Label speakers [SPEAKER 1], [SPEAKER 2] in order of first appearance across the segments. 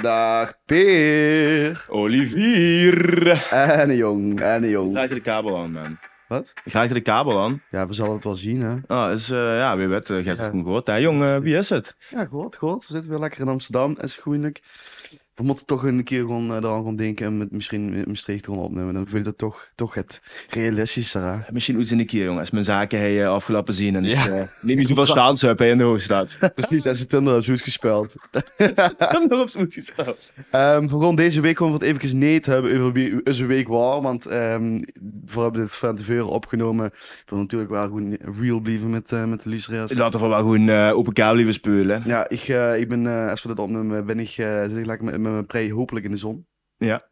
[SPEAKER 1] Dag Peer.
[SPEAKER 2] Olivier.
[SPEAKER 1] En jong, en jong.
[SPEAKER 2] Ga je de kabel aan, man.
[SPEAKER 1] Wat?
[SPEAKER 2] Ga je de kabel aan?
[SPEAKER 1] Ja, we zullen het wel zien, hè.
[SPEAKER 2] Ah, is, eh, ja, wie weet, uh, gaat
[SPEAKER 1] Ja.
[SPEAKER 2] het goed gehoord, hè? Jongen, wie is het?
[SPEAKER 1] Ja, goed, goed. We zitten weer lekker in Amsterdam. Het is goeilijk. We moeten toch een keer gewoon eh, eraan gaan denken en met, misschien in Maastricht gewoon opnemen. Dan vind ik dat toch, toch het realistischer, hè.
[SPEAKER 2] Misschien iets in een keer, jongen. Als mijn zaken hey, eh, afgelopen zien en
[SPEAKER 1] Ja.
[SPEAKER 2] ik eh, neem niet zoveel staans heb hey, in de hoofdstad.
[SPEAKER 1] Precies, en ze Tinder hebben goed gespeeld.
[SPEAKER 2] Dan nog op z'n voetjes staat.
[SPEAKER 1] Ehm, we gaan deze week gewoon voor het even nee te hebben over wie is een week waar. Want ehm, we hebben dit van tevoren opgenomen. Ik wil natuurlijk wel gewoon real blijven met, eh, met de luisteraars.
[SPEAKER 2] Laten we wel gewoon eh open kabel even speulen.
[SPEAKER 1] Ja, ik, eh, ik ben, eh, als we dit opnemen, ben ik, eh, zit ik lekker met, met mijn prei hopelijk in de zon.
[SPEAKER 2] Ja.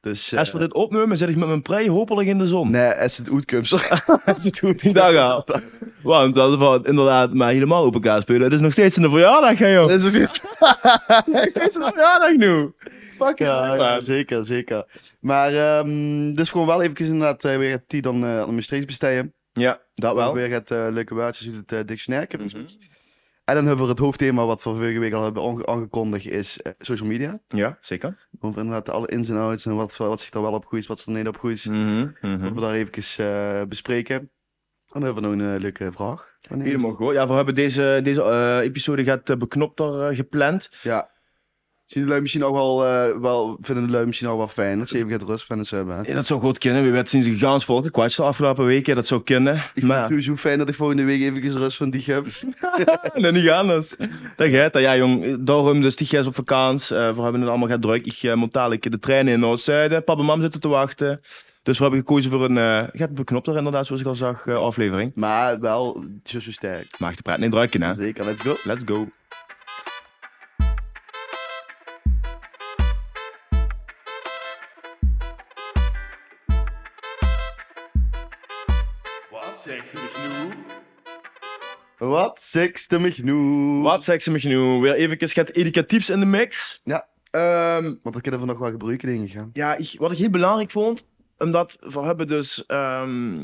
[SPEAKER 1] Dus,
[SPEAKER 2] Als we dit opnemen, zit ik met mijn prei hopelijk in de zon.
[SPEAKER 1] Nee, als het goed komt, sorry. Als het goed
[SPEAKER 2] Die dag al. Want dat valt inderdaad maar helemaal open elkaar spelen. Het is nog steeds een verjaardag, hè, joh. Het
[SPEAKER 1] Dus Dat is precies-
[SPEAKER 2] is nog steeds een verjaardag nu. Fuck
[SPEAKER 1] Ja, ja,
[SPEAKER 2] ja.
[SPEAKER 1] zeker, zeker. Maar, ehm, dus gewoon wel even inderdaad eh, weer het die dan eh aan mijn streeks besteden.
[SPEAKER 2] Ja, dat wel.
[SPEAKER 1] Weer het eh, leuke woordjes uit het eh, dictionair. Ik heb iets
[SPEAKER 2] Mhm.
[SPEAKER 1] met- En dan hebben we het hoofdthema wat we vorige week al hebben aange- aangekondigd, is eh, social media.
[SPEAKER 2] Ja, zeker.
[SPEAKER 1] Over inderdaad alle ins en outs en wat, wat zich daar wel op groeit, wat zich er niet op groeit.
[SPEAKER 2] Mhm, mhm.
[SPEAKER 1] Dat we daar even bespreken. En dan hebben we nog een eh, leuke vraag. Wanneer-
[SPEAKER 2] Helemaal goed. Ja, we hebben deze, deze eh, episode gaat eh, beknopter eh, gepland.
[SPEAKER 1] Ja. Zien de lui misschien ook wel, eh, wel, vinden de lui misschien ook wel fijn dat ze even het rust van eens hebben. hè?
[SPEAKER 2] Ja, dat zou goed kunnen. We werd sinds een gaans volk gekwatst de afgelopen weken. Dat zou kunnen.
[SPEAKER 1] Ik vind het
[SPEAKER 2] maar
[SPEAKER 1] sowieso fijn dat ik volgende week even rust van die heb.
[SPEAKER 2] nee, niet anders. Dat gaat dat. Ja, jong. Daarom, dus die gijs op vakantie. Eh, we hebben het allemaal gaat druk. Ik eh, moet dadelijk de trein in Noord-Zuiden. Papa en mam zitten te wachten. Dus we hebben gekozen voor een eh gaat beknopter inderdaad, zoals ik al zag, eh, aflevering.
[SPEAKER 1] Maar wel zo, zo sterk.
[SPEAKER 2] Mag de praat niet drukken, hè?
[SPEAKER 1] Zeker, let's go.
[SPEAKER 2] Let's go.
[SPEAKER 3] Wat zegt McNoo?
[SPEAKER 1] Wat sekste me genoeg.
[SPEAKER 2] Wat zegt ze me genoeg? Weer even gaat educatiefs in de mix.
[SPEAKER 1] Ja.
[SPEAKER 2] Ehm,
[SPEAKER 1] Want dat kunnen we nog wel gebruiken, denk ik. hè?
[SPEAKER 2] Ja, ik, wat ik heel belangrijk vond, omdat we hebben dus ehm,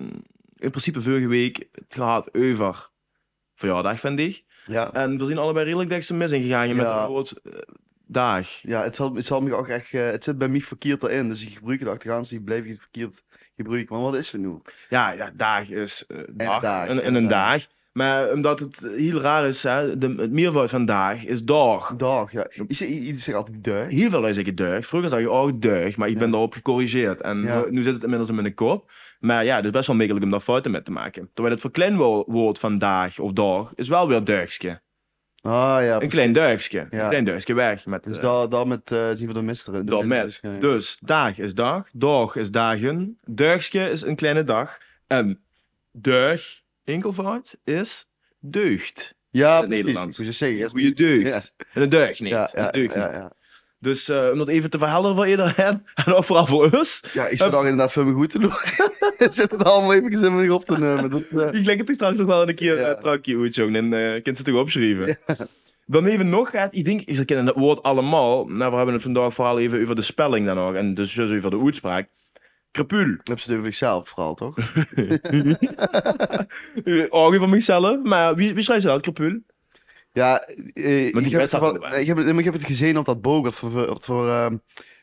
[SPEAKER 2] in principe vorige week het gehad over verjaardag, vind ik.
[SPEAKER 1] Ja.
[SPEAKER 2] En we zijn allebei redelijk dat ik ze mis ingegaan met
[SPEAKER 1] Ja.
[SPEAKER 2] een groot eh, dag.
[SPEAKER 1] Ja, het, zal, het, zal me ook echt, eh, het zit bij mij verkeerd erin. Dus ik gebruik het achteraan, dus ik blijf het verkeerd gebruiken. Maar wat is er nu?
[SPEAKER 2] Ja, ja dag is eh, dag,
[SPEAKER 1] dag,
[SPEAKER 2] een,
[SPEAKER 1] en
[SPEAKER 2] een
[SPEAKER 1] dag.
[SPEAKER 2] dag. Maar omdat het heel raar is, hè, de, het meervoud van dag is dag.
[SPEAKER 1] Dag, ja. Ik zeg, ik zeg altijd duig.
[SPEAKER 2] Heel veel zeggen deug. Vroeger zag je ook deug, maar ik ben daarop gecorrigeerd. En
[SPEAKER 1] Ja.
[SPEAKER 2] nu, nu zit het inmiddels in mijn kop. Maar ja, dus best wel makkelijk om daar fouten mee te maken. Terwijl het verkleinwoord vandaag of dag is wel weer deugske.
[SPEAKER 1] Ah ja,
[SPEAKER 2] Een klein deugske.
[SPEAKER 1] Ja.
[SPEAKER 2] Een klein deugske weg. Met,
[SPEAKER 1] Dus
[SPEAKER 2] eh,
[SPEAKER 1] daar, daar met eh, zien we de misteren.
[SPEAKER 2] dat met.
[SPEAKER 1] eh,
[SPEAKER 2] Dus dag is dag, dag is dagen, deugske is een kleine dag. En deug, enkelvoud, is deugd.
[SPEAKER 1] ja,
[SPEAKER 2] het
[SPEAKER 1] precies.
[SPEAKER 2] Nederlands.
[SPEAKER 1] Ik moet je zeggen.
[SPEAKER 2] Een
[SPEAKER 1] eerst-
[SPEAKER 2] goede deugd.
[SPEAKER 1] Ja.
[SPEAKER 2] En een deugd niet.
[SPEAKER 1] Ja, ja,
[SPEAKER 2] een deugd
[SPEAKER 1] ja,
[SPEAKER 2] niet.
[SPEAKER 1] ja.
[SPEAKER 2] Dus eh, om dat even te verhelderen voor iedereen, en ook vooral voor ons,
[SPEAKER 1] Ja, ik zit daar inderdaad voor me goed te doen. Zit het allemaal even in mijn op te nemen. Dat, eh,
[SPEAKER 2] Ik leg het straks nog wel een keer eh,
[SPEAKER 1] Ja.
[SPEAKER 2] ja. trakje uit, jong. En eh kunt ze toch opschrijven. Dan even nog gaat, ik denk, ze kennen het woord allemaal. Nou, we hebben het vandaag vooral even over de spelling dan ook. En dus dus over de uitspraak. Crepul.
[SPEAKER 1] heb ze natuurlijk zelf vooral, toch?
[SPEAKER 2] Ogen van mezelf. Maar wie, wie schrijft ze dat, crepul?
[SPEAKER 1] Ja, eh, ik,
[SPEAKER 2] Maar die
[SPEAKER 1] heb
[SPEAKER 2] wet
[SPEAKER 1] het
[SPEAKER 2] staat
[SPEAKER 1] wel-
[SPEAKER 2] er wel bij.
[SPEAKER 1] ik, heb, het- maar ik heb het gezien op dat boog dat we voor, voor ehm,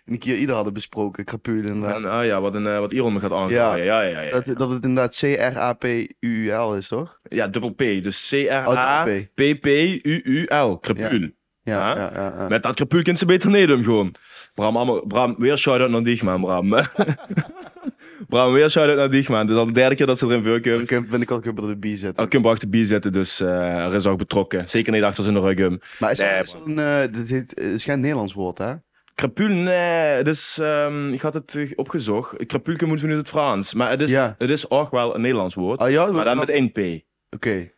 [SPEAKER 1] een keer ieder hadden besproken, Crapule inderdaad.
[SPEAKER 2] En, ah ja, wat, een, eh, wat Iron me gaat aandraaien. Ja, ja, ja. ja.
[SPEAKER 1] Dat, dat het inderdaad C-R-A-P-U-L is, toch?
[SPEAKER 2] Ja, dubbel P. Dus
[SPEAKER 1] Oh, dubbel P.
[SPEAKER 2] C-R-A-P-P-U-U-L. Crepul.
[SPEAKER 1] Ja,
[SPEAKER 2] Ja.
[SPEAKER 1] ja, ja. ja.
[SPEAKER 2] Met dat krapul kunnen ze beter neerdoen gewoon. Bram, allemaal, Bram, weer shout-out naar dich, man, Bram. Bram, weer shout-out naar dich, man. Dit is al de derde keer dat ze erin
[SPEAKER 1] Dan
[SPEAKER 2] voorkomen.
[SPEAKER 1] kun- vind ik ook even door de B zetten.
[SPEAKER 2] Al kunnen achter bier zitten, dus eh, er is ook betrokken. Zeker niet achter zijn rug.
[SPEAKER 1] Maar is, dat-
[SPEAKER 2] Nee,
[SPEAKER 1] is dat een, eh, dit heet, eh, is geen Nederlands woord, hè?
[SPEAKER 2] Krapul, nee, het is, ehm, ik had het eh, opgezocht. Krapulke moet van in het Frans. Maar het is,
[SPEAKER 1] Ja.
[SPEAKER 2] het is ook wel een Nederlands woord.
[SPEAKER 1] Ah ja,
[SPEAKER 2] maar dan
[SPEAKER 1] Oké.
[SPEAKER 2] met één P.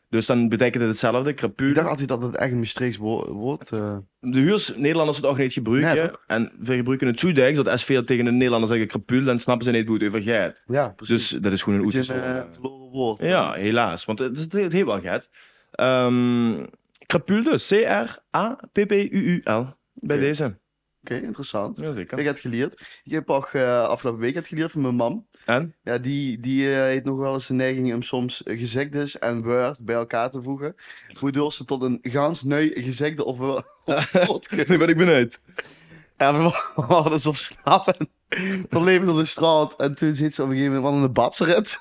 [SPEAKER 2] Dus dan betekent het hetzelfde, krapul.
[SPEAKER 1] Ik dacht altijd dat het echt een Maastrichts wo- woord... eh,
[SPEAKER 2] De huurs, Nederlanders het ook niet gebruiken.
[SPEAKER 1] Nee,
[SPEAKER 2] en we gebruiken het Soedijks, dat SV tegen de Nederlanders zeggen krapul, dan snappen ze niet hoe het over gaat.
[SPEAKER 1] ja, precies.
[SPEAKER 2] Dus dat is gewoon een
[SPEAKER 1] Het is
[SPEAKER 2] oetjes.
[SPEAKER 1] een eh, verloren woord.
[SPEAKER 2] Ja, helaas. Want het is het heel wel gaat. Ehm crapul dus. C-R-A-P-P-U-U-L. Bij
[SPEAKER 1] Oké.
[SPEAKER 2] deze.
[SPEAKER 1] Oké, interessant. Ik
[SPEAKER 2] Jazeker.
[SPEAKER 1] heb het geleerd. Ik heb ook eh, afgelopen week het geleerd van mijn mam.
[SPEAKER 2] En?
[SPEAKER 1] Ja, die, die eh, heeft nog wel eens de neiging om soms eh, gezegdes en woord bij elkaar te voegen. Waardoor ze tot een gaans neu gezegde of wo-
[SPEAKER 2] Nu ben ik benieuwd.
[SPEAKER 1] En we hadden ze op stap en toen leven op de straat. En toen zit ze op een gegeven moment, wat een batseret.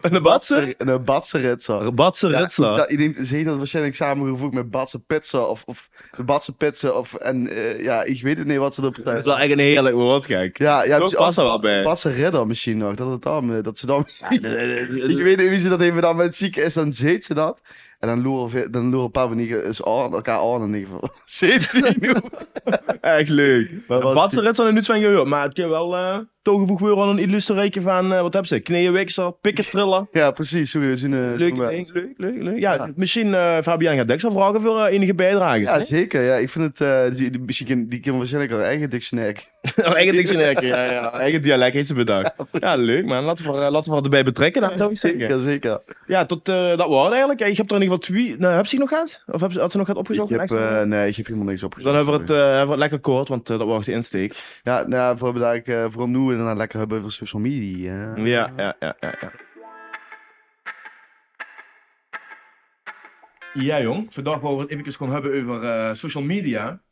[SPEAKER 2] En de batser?
[SPEAKER 1] Een batseret, zo.
[SPEAKER 2] Batser
[SPEAKER 1] Ja,
[SPEAKER 2] Retsla.
[SPEAKER 1] dat- ik denk, ze heeft dat waarschijnlijk samengevoegd met Batse Pizza of, of de Batse Pizza of en eh, ja, ik weet het niet wat ze erop
[SPEAKER 2] dat is
[SPEAKER 1] zijn.
[SPEAKER 2] wel echt een heerlijk woord, kijk.
[SPEAKER 1] Ja, ja,
[SPEAKER 2] Toch
[SPEAKER 1] misschien-
[SPEAKER 2] past dat
[SPEAKER 1] oh,
[SPEAKER 2] wel bij.
[SPEAKER 1] Batse Redder misschien nog, dat het dan, eh, dat ze dan. ik
[SPEAKER 2] Ik
[SPEAKER 1] weet niet wie ze dat heeft gedaan, maar het ziek is, dan zeet ze dat. En dan loeren, ve- dan loeren een paar manieren is aan, elkaar aan in ieder geval. 17 uur.
[SPEAKER 2] Echt leuk.
[SPEAKER 1] Maar wat-
[SPEAKER 2] Batser Retsla en nu van gehoord, maar het kan wel eh toegevoegd worden aan een illustre reekje van, eh, wat heb ze, knieënwiksel, pikketriller.
[SPEAKER 1] Ja, precies. Sorry, zo'n, eh,
[SPEAKER 2] Leuk,
[SPEAKER 1] zo'n-
[SPEAKER 2] ding, leuk, leuk, leuk. Ja,
[SPEAKER 1] Ja.
[SPEAKER 2] misschien eh Fabian gaat Dex al vragen voor eh, enige bijdragers.
[SPEAKER 1] Ja,
[SPEAKER 2] Ja,
[SPEAKER 1] zeker. Ja, ik vind het, eh, die, die, misschien kan- die kan waarschijnlijk haar eigen dictionary.
[SPEAKER 2] eigen Dex in Hekken, ja, ja. Eigen dialect heeft ze bedacht. Ja, leuk man. Laten we, eh, laten we haar erbij betrekken, dat zou ik zeggen.
[SPEAKER 1] Zeker, zeker.
[SPEAKER 2] Ja, tot eh, dat woord eigenlijk. Ik heb er in ieder geval twee. Nou, heb ze nog gehad? Of heb, ze- had ze nog gehad
[SPEAKER 1] Ik
[SPEAKER 2] opgezocht?
[SPEAKER 1] heb,
[SPEAKER 2] Extra?
[SPEAKER 1] eh, nee, ik heb helemaal niks
[SPEAKER 2] dan
[SPEAKER 1] opgezocht.
[SPEAKER 2] hebben we het, eh, hebben we het lekker kort, want eh, dat was de insteek.
[SPEAKER 1] Ja, nou, ja, voor dat ik eh, vooral nu inderdaad lekker hebben over social media. hè.
[SPEAKER 2] Ja, ja, ja, ja. Ja, ja jong. Vandaag wou we het even gaan hebben over eh, social media.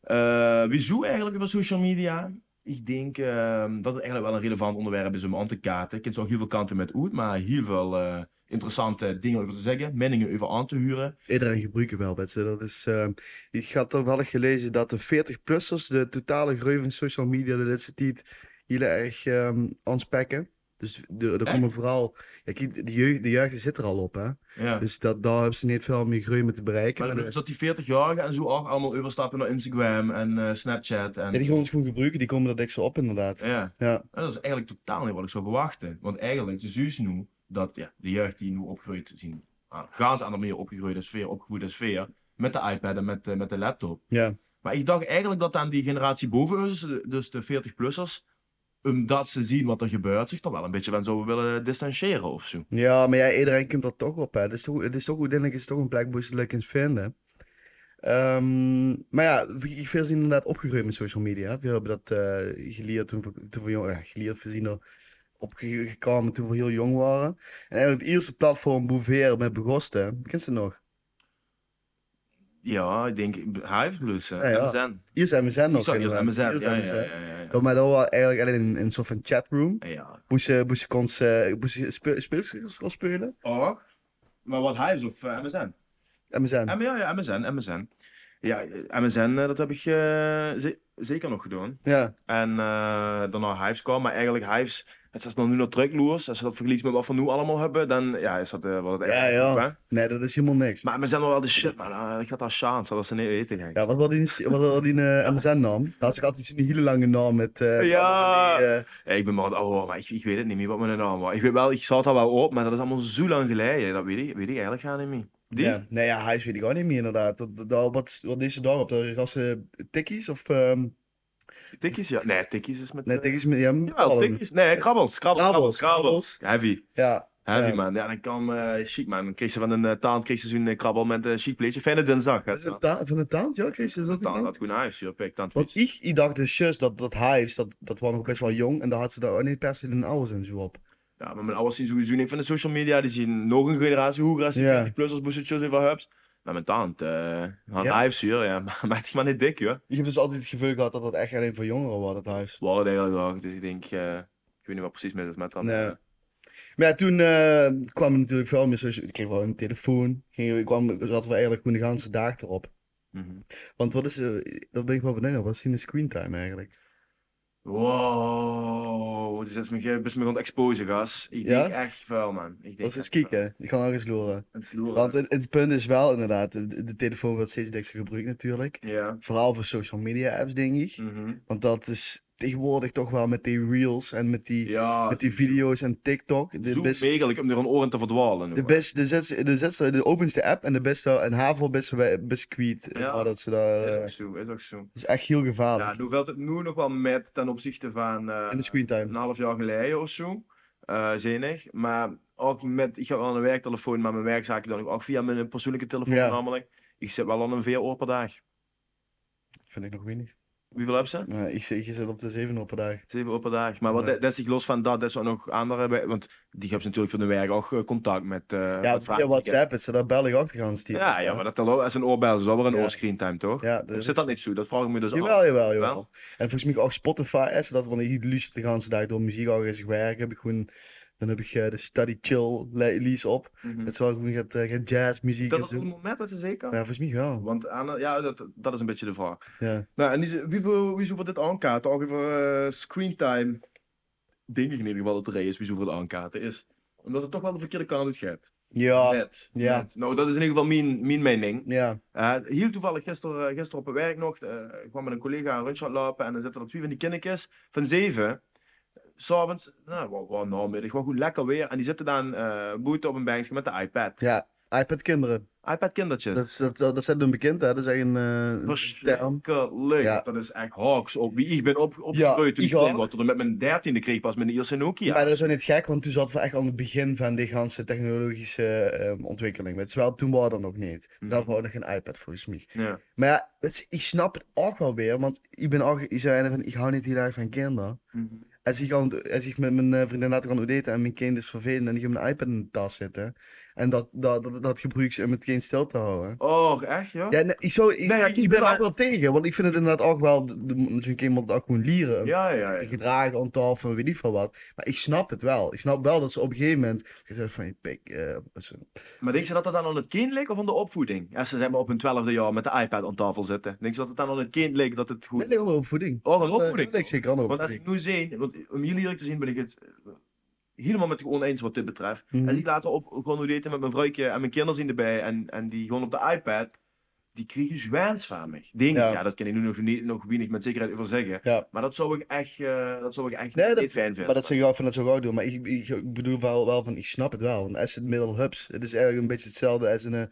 [SPEAKER 2] Eh wie zo eigenlijk over social media? Ik denk ehm, dat het eigenlijk wel een relevant onderwerp is om aan te kaarten. Ik ken zo heel veel kanten met uit, maar heel veel eh, interessante dingen over te zeggen. Meningen over aan te huren.
[SPEAKER 1] Iedereen gebruikt wel, weet je. Dat is, ehm, ik had toch wel eens gelezen dat de 40-plussers de totale groei van social media de laatste tijd heel erg ehm aanspekken. Dus de- er
[SPEAKER 2] Echt?
[SPEAKER 1] komen vooral... Ja, kijk, de, jeugd, de jeugd zit er al op, hè.
[SPEAKER 2] Ja.
[SPEAKER 1] Dus dat, daar hebben ze niet veel meer groei mee te bereiken.
[SPEAKER 2] Maar
[SPEAKER 1] Maar
[SPEAKER 2] dat
[SPEAKER 1] de-
[SPEAKER 2] bedoelt dat die 40-jarigen en zo ook allemaal overstappen naar Instagram en eh, Snapchat. En...
[SPEAKER 1] ja, die gewoon het goed gebruiken, die komen dat extra op, inderdaad.
[SPEAKER 2] Ja.
[SPEAKER 1] Ja.
[SPEAKER 2] En dat is eigenlijk totaal niet wat ik zou verwachten. Want eigenlijk, de zus nu, dat ja, de jeugd die nu opgroeit, zien, ah, gaan ze aan de meer opgegroeide sfeer, opgevoede sfeer, met de iPad en met, eh, met de laptop.
[SPEAKER 1] Ja.
[SPEAKER 2] Maar ik dacht eigenlijk dat aan die generatie boven ons, de- dus de 40-plussers, omdat ze zien wat er gebeurt, zich toch wel een beetje van zouden willen distancieren of zo.
[SPEAKER 1] Ja, maar ja, iedereen komt er toch op, hè. Het is toch, het is toch uiteindelijk is het toch een plek waar ze het lekker in vinden. Ehm, maar ja, v- veel zijn inderdaad opgegroeid met social media. Veel hebben dat eh, geleerd toen we, toen we jong, ja, geleerd, we zijn er opgekomen toen we heel jong waren. En eigenlijk het eerste platform Boeveer met Begosten, ken je het nog?
[SPEAKER 2] Ja, ik denk, Hive bedoel ze,
[SPEAKER 1] Ja, ja.
[SPEAKER 2] MSN.
[SPEAKER 1] Eerst MSN nog,
[SPEAKER 2] Ik zag eerst
[SPEAKER 1] inderdaad.
[SPEAKER 2] MSN,
[SPEAKER 1] Eerst
[SPEAKER 2] ja, ja,
[SPEAKER 1] MSN.
[SPEAKER 2] ja, ja, ja.
[SPEAKER 1] Dat- Maar dat was eigenlijk alleen een, een soort van chatroom.
[SPEAKER 2] Ja,
[SPEAKER 1] Moest je, moest je, cons- eh, moest je speel- speelsters kon spelen?
[SPEAKER 2] Oh, maar wat Hives of eh, MSN?
[SPEAKER 1] MSN.
[SPEAKER 2] M- Ah, ja, ja, MSN, MSN. Ja, eh, MSN, eh, dat heb ik eh, ze- zeker nog gedaan.
[SPEAKER 1] Ja,
[SPEAKER 2] En eh, daarna Hives kwam, maar eigenlijk Hives, het is nog nu nog truckloers. Als je dat vergelijkt met wat we nu allemaal hebben, dan ja, is dat eh, wat het
[SPEAKER 1] Ja,
[SPEAKER 2] echt
[SPEAKER 1] ja.
[SPEAKER 2] op, hè?
[SPEAKER 1] nee, dat is helemaal niks.
[SPEAKER 2] Maar MSN was wel de shit, man. Eh, ik had daar chance, dat was een eten, gek.
[SPEAKER 1] Ja, wat had die, wat had die eh, MSN-naam? Dat had ik altijd zo'n hele lange naam met... eh,
[SPEAKER 2] Ja.
[SPEAKER 1] van die, eh,
[SPEAKER 2] Ja, ik ben maar, oh, maar ik, ik weet het niet meer wat mijn naam was. Ik weet wel, ik zat daar wel op, maar dat is allemaal zo lang geleden. Dat weet ik, weet ik eigenlijk gaan niet meer. Die?
[SPEAKER 1] ja. Nee, ja, hij is weet ik ook niet meer inderdaad. Dat, dat- dat- wat, wat is er daarop? Dat was eh tikkies of... ehm
[SPEAKER 2] Tikkies, ja. Nee, tikkies is met...
[SPEAKER 1] nee,
[SPEAKER 2] eh,
[SPEAKER 1] tikkies met... Ja, met
[SPEAKER 2] Jawel,
[SPEAKER 1] ballen.
[SPEAKER 2] tikkies. Nee, krabbels, krabbels, krabbels,
[SPEAKER 1] Krabbels,
[SPEAKER 2] krabbels. Heavy.
[SPEAKER 1] Ja,
[SPEAKER 2] Heavy
[SPEAKER 1] Ja.
[SPEAKER 2] man, ja, dan kan eh chic man. Dan kreeg ze van een eh taant kreeg ze zo'n eh, krabbel met een chic pleetje. Fijne dinsdag. hè,
[SPEAKER 1] Is het
[SPEAKER 2] zo.
[SPEAKER 1] ta- van de taant, ja, Chris, is dat die
[SPEAKER 2] Taant
[SPEAKER 1] taant?
[SPEAKER 2] had goed naar huis, joh, pik, taant
[SPEAKER 1] Want
[SPEAKER 2] vies.
[SPEAKER 1] ik, ik dacht dus juist dat, dat Hives, dat, dat was nog best wel jong en daar had ze daar ook niet per se hun ouders en zo op.
[SPEAKER 2] Ja, maar mijn ouders zien sowieso niet van de social media. Die zien nog een generatie hoger als die
[SPEAKER 1] Ja.
[SPEAKER 2] 40 plussers boezetjes even hubs. Maar mijn taant, eh aan
[SPEAKER 1] Ja.
[SPEAKER 2] huis, joh, ja. Maar maakt die man niet dik, joh.
[SPEAKER 1] Ik heb dus altijd het gevoel gehad dat dat echt alleen voor jongeren was, dat Hives.
[SPEAKER 2] Waar het eigenlijk ook, dus ik denk, eh, ik weet niet wat precies mis is met dat.
[SPEAKER 1] Nee. Maar ja, toen eh, kwam er natuurlijk veel meer social... Ik kreeg wel een telefoon. Ging, ik kwam, zaten we eigenlijk gewoon de ganse dag erop.
[SPEAKER 2] Mhm.
[SPEAKER 1] Want wat is, eh, dat ben ik wel benieuwd, naar, wat is in de screentime eigenlijk?
[SPEAKER 2] Wow, Dus het is echt mijn best me aan het exposen, gas. Ik
[SPEAKER 1] Ja?
[SPEAKER 2] denk echt vuil, man. Ik
[SPEAKER 1] Dat
[SPEAKER 2] denk
[SPEAKER 1] is
[SPEAKER 2] echt
[SPEAKER 1] eens kieken, ik ga nog eens loren.
[SPEAKER 2] vuil. Het verloren.
[SPEAKER 1] Want het, het punt is wel inderdaad, de, de telefoon wordt steeds extra gebruikt natuurlijk.
[SPEAKER 2] Ja.
[SPEAKER 1] Vooral voor social media apps, denk ik.
[SPEAKER 2] Mhm.
[SPEAKER 1] Want dat is tegenwoordig toch wel met die reels en met die,
[SPEAKER 2] Ja,
[SPEAKER 1] met die video's en TikTok. De,
[SPEAKER 2] Zoek
[SPEAKER 1] best,
[SPEAKER 2] eigenlijk om er een oren te verdwalen.
[SPEAKER 1] de, best, de, zes, de, zesde- de openste app en de beste, en Havel beste bij- biscuit.
[SPEAKER 2] Ja.
[SPEAKER 1] Ja. dat ze daar,
[SPEAKER 2] Is
[SPEAKER 1] eh,
[SPEAKER 2] ook zo, is ook zo.
[SPEAKER 1] dat is echt heel
[SPEAKER 2] Ja,
[SPEAKER 1] gevaarlijk.
[SPEAKER 2] nu valt het nu nog wel met ten opzichte van eh,
[SPEAKER 1] en de screentime.
[SPEAKER 2] een half jaar geleden of zo. eh zenig. Maar ook met, ik ga wel aan een werktelefoon, maar mijn werkzaken dan ook via mijn persoonlijke telefoon
[SPEAKER 1] Ja.
[SPEAKER 2] namelijk. Ik zit wel aan een VR oor per dag.
[SPEAKER 1] Vind ik nog weinig.
[SPEAKER 2] Hoeveel heb ze?
[SPEAKER 1] Nou, ik, zit- je zit op de zeven op een dag.
[SPEAKER 2] Zeven op een dag. Maar wat
[SPEAKER 1] Ja.
[SPEAKER 2] dat dat is ik los van dat, dat ze nog andere bij, want die hebben ze natuurlijk van de werk ook eh, contact met. eh,
[SPEAKER 1] Ja,
[SPEAKER 2] met
[SPEAKER 1] via
[SPEAKER 2] vragen.
[SPEAKER 1] WhatsApp, het zit daar bel ik achter gaan stiekem.
[SPEAKER 2] Ja, ja, maar dat al- als een oorbel is, dat wel een
[SPEAKER 1] Ja.
[SPEAKER 2] oorscreen time toch?
[SPEAKER 1] Ja,
[SPEAKER 2] Of
[SPEAKER 1] dus
[SPEAKER 2] zit dat niet zo? Dat vraag ik me dus af.
[SPEAKER 1] Jawel, jawel, jawel.
[SPEAKER 2] Wel?
[SPEAKER 1] En volgens mij ook Spotify is dat, want ik luister de hele dag door muziek al eens werk. Heb ik gewoon, dan heb ik eh, de study chill le- lease op.
[SPEAKER 2] Mhm.
[SPEAKER 1] Het is wel gewoon gaat, eh, gaat jazzmuziek
[SPEAKER 2] Dat
[SPEAKER 1] en
[SPEAKER 2] is
[SPEAKER 1] zo.
[SPEAKER 2] op het moment wat ze zeker?
[SPEAKER 1] Ja, volgens mij wel.
[SPEAKER 2] Want aan, ja, dat, dat is een beetje de vraag.
[SPEAKER 1] Ja.
[SPEAKER 2] Nou, en die, wie, voor, wie zoveel dit aankaarten? Ook over screentime, denk ik in ieder geval dat er is, wie zoveel aankaarten, is omdat het toch wel de verkeerde kant uit gaat.
[SPEAKER 1] Ja,
[SPEAKER 2] Net,
[SPEAKER 1] ja.
[SPEAKER 2] net. Nou, dat is in ieder geval mijn, mijn mening.
[SPEAKER 1] ja.
[SPEAKER 2] Eh, heel toevallig gisteren, gisteren op het werk nog, eh, ik kwam met een collega een rondje aan het lopen en dan zitten er twee van die kindertjes van zeven. S'avonds, nou, wat, wat namiddag, wat goed lekker weer. En die zitten dan eh boeten op een bankje met de iPad.
[SPEAKER 1] Ja, iPad kinderen.
[SPEAKER 2] iPad kindertje.
[SPEAKER 1] Dat, is- dat, dat, dat zijn dan bekend, hè? Dat is echt een, eh,
[SPEAKER 2] Oh,
[SPEAKER 1] een term.
[SPEAKER 2] Verschrikkelijk.
[SPEAKER 1] Ja.
[SPEAKER 2] Dat is echt hoax. Op wie ik ben op,
[SPEAKER 1] Ja,
[SPEAKER 2] opgegroeid toen ik
[SPEAKER 1] ik
[SPEAKER 2] klein
[SPEAKER 1] ook.
[SPEAKER 2] was. Tot en met mijn dertiende kreeg ik pas mijn eerste Nokia.
[SPEAKER 1] Maar dat is wel niet gek, want toen zaten we echt aan het begin van die ganse technologische ehm, ontwikkeling. Maar terwijl toen waren we dat nog niet.
[SPEAKER 2] Mhm.
[SPEAKER 1] Toen hadden we ook nog geen iPad volgens mij.
[SPEAKER 2] Ja.
[SPEAKER 1] Maar ja, het is- ik snap het ook wel weer, want ik ben ook, ik zei van, ik hou niet heel erg van kinderen. Als ik, aan, als ik met mijn eh, vriendin later kan daten en mijn kind is vervelend en ik heb mijn iPad in de tas zitten. En dat, dat, dat, dat gebruik ze om het kind stil te houden.
[SPEAKER 2] Oh, echt joh? Ja.
[SPEAKER 1] Ja, nee, ik, zou, ik,
[SPEAKER 2] Nee, Nou ja,
[SPEAKER 1] ik-
[SPEAKER 2] ik
[SPEAKER 1] ik
[SPEAKER 2] ben
[SPEAKER 1] ben daar
[SPEAKER 2] maar-
[SPEAKER 1] ook wel tegen, want ik vind het inderdaad ook wel, de- de- zo'n kind moet ook gewoon leren. om
[SPEAKER 2] Ja, ja,
[SPEAKER 1] te gedragen on tafel en weet niet van wat. Maar ik snap het wel. Ik snap wel dat ze op een gegeven moment gezegd van je pik. eh, zo.
[SPEAKER 2] Maar denk je dat dat dan aan het kind leek of aan de opvoeding? Als ze zeg maar, op hun twaalfde jaar met de iPad aan tafel zitten. Denk je dat het dan aan het kind leek dat het
[SPEAKER 1] Dat
[SPEAKER 2] goed...
[SPEAKER 1] ligt allemaal op voeding.
[SPEAKER 2] Oh, aan
[SPEAKER 1] Dat, eh,
[SPEAKER 2] opvoeding.
[SPEAKER 1] dat ligt zeker aan
[SPEAKER 2] Want als ik
[SPEAKER 1] opvoeding.
[SPEAKER 2] nu zie, want om jullie eerlijk te zien ben ik het eh, helemaal met je oneens wat dit betreft.
[SPEAKER 1] Mhm.
[SPEAKER 2] Als ik later op gewoon hoe daten met mijn vrouwtje en mijn kinderen zien erbij en, en die gewoon op de iPad, die kriegen zwaans van me. Denk
[SPEAKER 1] Ja.
[SPEAKER 2] ik, ja, dat kan ik nu nog, niet, nog weinig met zekerheid over zeggen.
[SPEAKER 1] Ja.
[SPEAKER 2] Maar dat zou ik echt, eh, dat zou ik echt
[SPEAKER 1] Nee,
[SPEAKER 2] niet
[SPEAKER 1] dat-
[SPEAKER 2] fijn vinden.
[SPEAKER 1] Maar dat zeg ik wel van dat zou ik ook doen. Maar ik, ik, ik bedoel wel, wel van, ik snap het wel. Want als het middel hubs, het is eigenlijk een beetje hetzelfde als een, eh,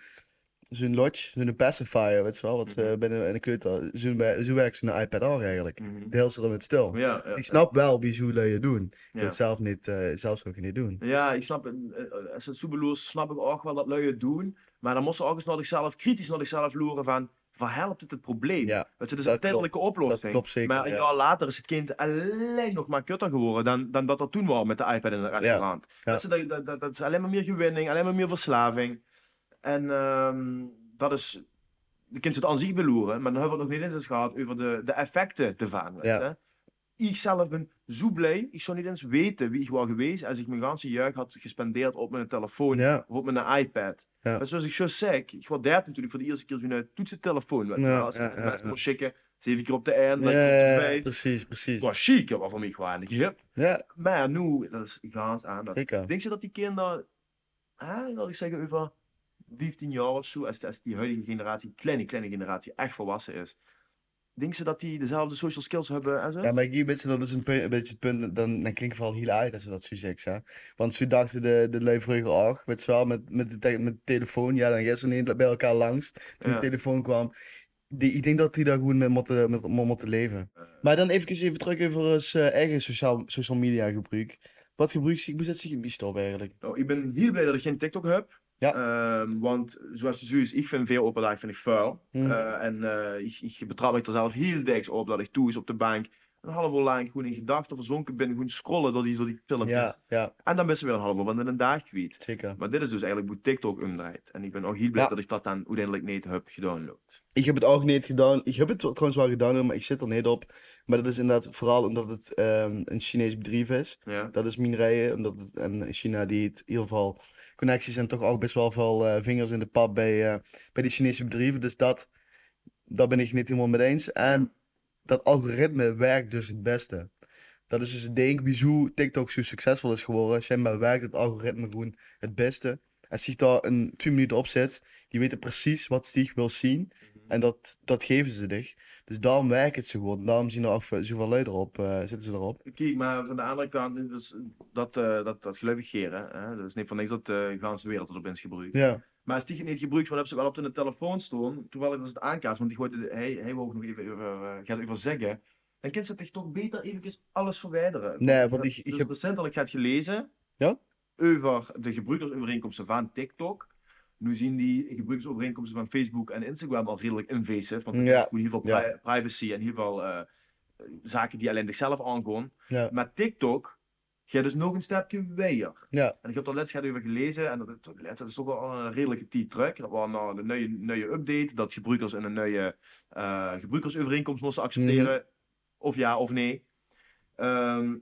[SPEAKER 1] zo'n lodge, zo'n pacifier, weet je wel, wat ze
[SPEAKER 2] Mhm.
[SPEAKER 1] binnen in de keutel. Zo, wer- zo werkt zo'n iPad ook eigenlijk.
[SPEAKER 2] Mhm.
[SPEAKER 1] De hele zit er met stil.
[SPEAKER 2] ja, ja,
[SPEAKER 1] Ik snap wel wie zo dat je doen. Je
[SPEAKER 2] ja.
[SPEAKER 1] wilt zelf niet, eh, zelf zou ik het niet doen.
[SPEAKER 2] Ja, ik snap, eh, eh, als het zo beloos, snap ik ook wel dat lui het doen. Maar dan moest ze ook eens naar zichzelf, kritisch naar zichzelf loeren van, waar helpt het het probleem?
[SPEAKER 1] Ja,
[SPEAKER 2] Want het is
[SPEAKER 1] dat
[SPEAKER 2] een tijdelijke oplossing.
[SPEAKER 1] Dat klopt zeker,
[SPEAKER 2] maar een
[SPEAKER 1] ja.
[SPEAKER 2] jaar later is het kind alleen nog maar kutter geworden dan, dan dat dat toen was met de iPad in het restaurant.
[SPEAKER 1] ja.
[SPEAKER 2] Dat, is, dat- dat, dat, dat is alleen maar meer gewinning, alleen maar meer verslaving. En ehm, dat is, de kind zit aan zich beloeren, maar dan hebben we het nog niet eens gehad over de, de effecten te vangen.
[SPEAKER 1] Ja.
[SPEAKER 2] Ik zelf ben zo blij, ik zou niet eens weten wie ik was geweest als ik mijn ganse jeugd had gespendeerd op mijn telefoon
[SPEAKER 1] Ja,
[SPEAKER 2] of op mijn iPad.
[SPEAKER 1] Ja.
[SPEAKER 2] Maar zoals ik zo zei, ik ik was 13 toen ik voor de eerste keer zo'n eh, toetsentelefoon werd.
[SPEAKER 1] Ja,
[SPEAKER 2] Ja, als
[SPEAKER 1] ja,
[SPEAKER 2] ik
[SPEAKER 1] ja,
[SPEAKER 2] mensen
[SPEAKER 1] ja.
[SPEAKER 2] moest schikken, zeven keer op de eind, dan
[SPEAKER 1] Ja,
[SPEAKER 2] keer op de
[SPEAKER 1] ja, ja,
[SPEAKER 2] vijf.
[SPEAKER 1] precies, precies.
[SPEAKER 2] Het was chic, dat was voor mij gewoon een grip.
[SPEAKER 1] Ja,
[SPEAKER 2] Maar nu, dat is gans aan. Dat.
[SPEAKER 1] zeker.
[SPEAKER 2] Denk je dat die kinderen, hè, laat ik zeggen, over 15 jaar of zo, als, als die huidige generatie, kleine, kleine generatie, echt volwassen is, denk je dat die dezelfde social skills hebben en zo?
[SPEAKER 1] Ja, maar hier beetje, dat is een, pu- een beetje het punt, dan, dan klinkt vooral heel uit als we dat zo zeggen. hè. Want zo dachten de, de lui vroeger ook, weet je wel, met, met, de, te- met de telefoon, ja, dan gisteren niet bij elkaar langs, toen
[SPEAKER 2] Ja.
[SPEAKER 1] de telefoon kwam. Die, ik denk dat die daar gewoon mee moeten, met, mee moeten leven.
[SPEAKER 2] Eh.
[SPEAKER 1] Maar dan even, even terug over ons eh, eigen sociaal, social media gebruik. Wat gebruik je, ik moet dat zeggen, biest op eigenlijk.
[SPEAKER 2] Nou, ik ben heel blij dat ik geen TikTok heb.
[SPEAKER 1] Ja.
[SPEAKER 2] Ehm, want zoals je zo is, ik vind veel op een dag vind ik vuil.
[SPEAKER 1] Mhm.
[SPEAKER 2] Eh, en eh, ik, ik betrap me er zelf heel dikwijls op dat ik toe is op de bank. Een half uur lang gewoon in gedachten verzonken ben, gewoon scrollen door die, door die filmpjes.
[SPEAKER 1] Ja, ja,
[SPEAKER 2] En dan ben je weer een half uur, want dan een dag kwijt.
[SPEAKER 1] zeker.
[SPEAKER 2] Maar dit is dus eigenlijk hoe TikTok omdraait. En ik ben ook heel blij
[SPEAKER 1] Ja.
[SPEAKER 2] dat ik dat dan uiteindelijk niet heb gedownload.
[SPEAKER 1] Ik heb het ook niet gedaan. Ik heb het wel- trouwens wel gedownload, maar ik zit er niet op. Maar dat is inderdaad vooral omdat het ehm, een Chinees bedrijf is.
[SPEAKER 2] Ja.
[SPEAKER 1] Dat is Minrije, omdat het en China die het in ieder geval connecties en toch ook best wel veel eh, vingers in de pap bij, eh, bij die Chinese bedrijven. Dus dat, daar ben ik niet helemaal mee eens. En dat algoritme werkt dus het beste. Dat is dus het ding wieso TikTok zo succesvol is geworden. Schijnbaar werkt het algoritme gewoon het beste. Als zich daar een twee minuten op zet, die weten precies wat zich wil zien. En dat, dat geven ze zich. Dus daarom werkt het zo gewoon. Daarom zien er ook zoveel lui erop, eh, zitten ze erop.
[SPEAKER 2] Kijk, maar van de andere kant, dus, dat, eh dat, dat gelukkig geren. Hè? Dat is niet van niks dat eh, de ganse wereld erop is gebruikt.
[SPEAKER 1] Ja,
[SPEAKER 2] Maar als die het niet gebruikt, want hebben ze wel op hun telefoon staan, terwijl ik dat het aankaas, want die gooit, het- hij, hij wou ook nog even over, eh, gaat over zeggen, dan kan ze toch toch beter even alles verwijderen.
[SPEAKER 1] Nee, want ik- ik
[SPEAKER 2] dus
[SPEAKER 1] heb-
[SPEAKER 2] recentelijk gaat gelezen
[SPEAKER 1] Ja?
[SPEAKER 2] over de gebruikersovereenkomsten van TikTok. Nu zien die gebruiksovereenkomsten van Facebook en Instagram al redelijk invasive. Want
[SPEAKER 1] Ja.
[SPEAKER 2] in ieder geval pri-
[SPEAKER 1] Ja.
[SPEAKER 2] privacy en in ieder geval eh, zaken die alleen zichzelf aangaan.
[SPEAKER 1] Ja.
[SPEAKER 2] Maar TikTok gaat dus nog een stapje weer.
[SPEAKER 1] Ja.
[SPEAKER 2] En ik heb daar laatst gaat over gelezen. En dat, dat, laatst, dat is toch wel een redelijke T-truck. Dat was nou een nieuwe, nieuwe update. Dat gebruikers een nieuwe eh gebruikersovereenkomst moesten accepteren.
[SPEAKER 1] Mhm.
[SPEAKER 2] Of ja of nee. Ehm,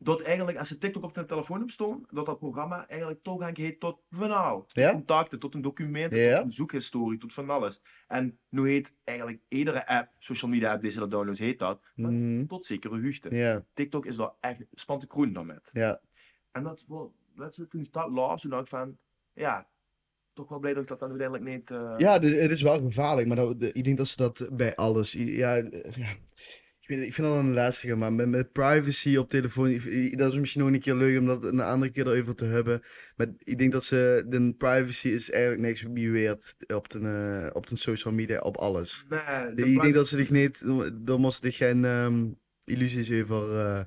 [SPEAKER 2] dat eigenlijk als ze TikTok op hun telefoon hebben staan, dat dat programma eigenlijk toegang heeft tot van nou, tot
[SPEAKER 1] Ja.
[SPEAKER 2] contacten, tot een document,
[SPEAKER 1] Ja.
[SPEAKER 2] tot een zoekhistorie, tot van alles. En nu heet eigenlijk iedere app, social media app die ze dat downloads, heet dat, maar
[SPEAKER 1] Mhm.
[SPEAKER 2] tot zekere hoogte.
[SPEAKER 1] Ja,
[SPEAKER 2] TikTok is daar echt spant de kroen dan met.
[SPEAKER 1] ja.
[SPEAKER 2] En dat, wel, dat is toen ik dat las, toen dacht ik van, ja, toch wel blij dat ik dat dan uiteindelijk niet... eh,
[SPEAKER 1] Ja, dit- het is wel gevaarlijk, maar dat, de- ik denk dat ze dat bij alles. i- Ja, eh, ja. Ik, weet, ik vind dat een lastige, maar met, met privacy op telefoon, ik- ik- dat is misschien nog een keer leuk om dat een andere keer erover te hebben. Maar ik denk dat ze, de privacy is eigenlijk niks weird op de, eh, op de social media, op alles.
[SPEAKER 2] Nee,
[SPEAKER 1] De-
[SPEAKER 2] de
[SPEAKER 1] ik
[SPEAKER 2] plan-
[SPEAKER 1] denk dat ze zich niet, dan moesten zich geen ehm, illusies over, eh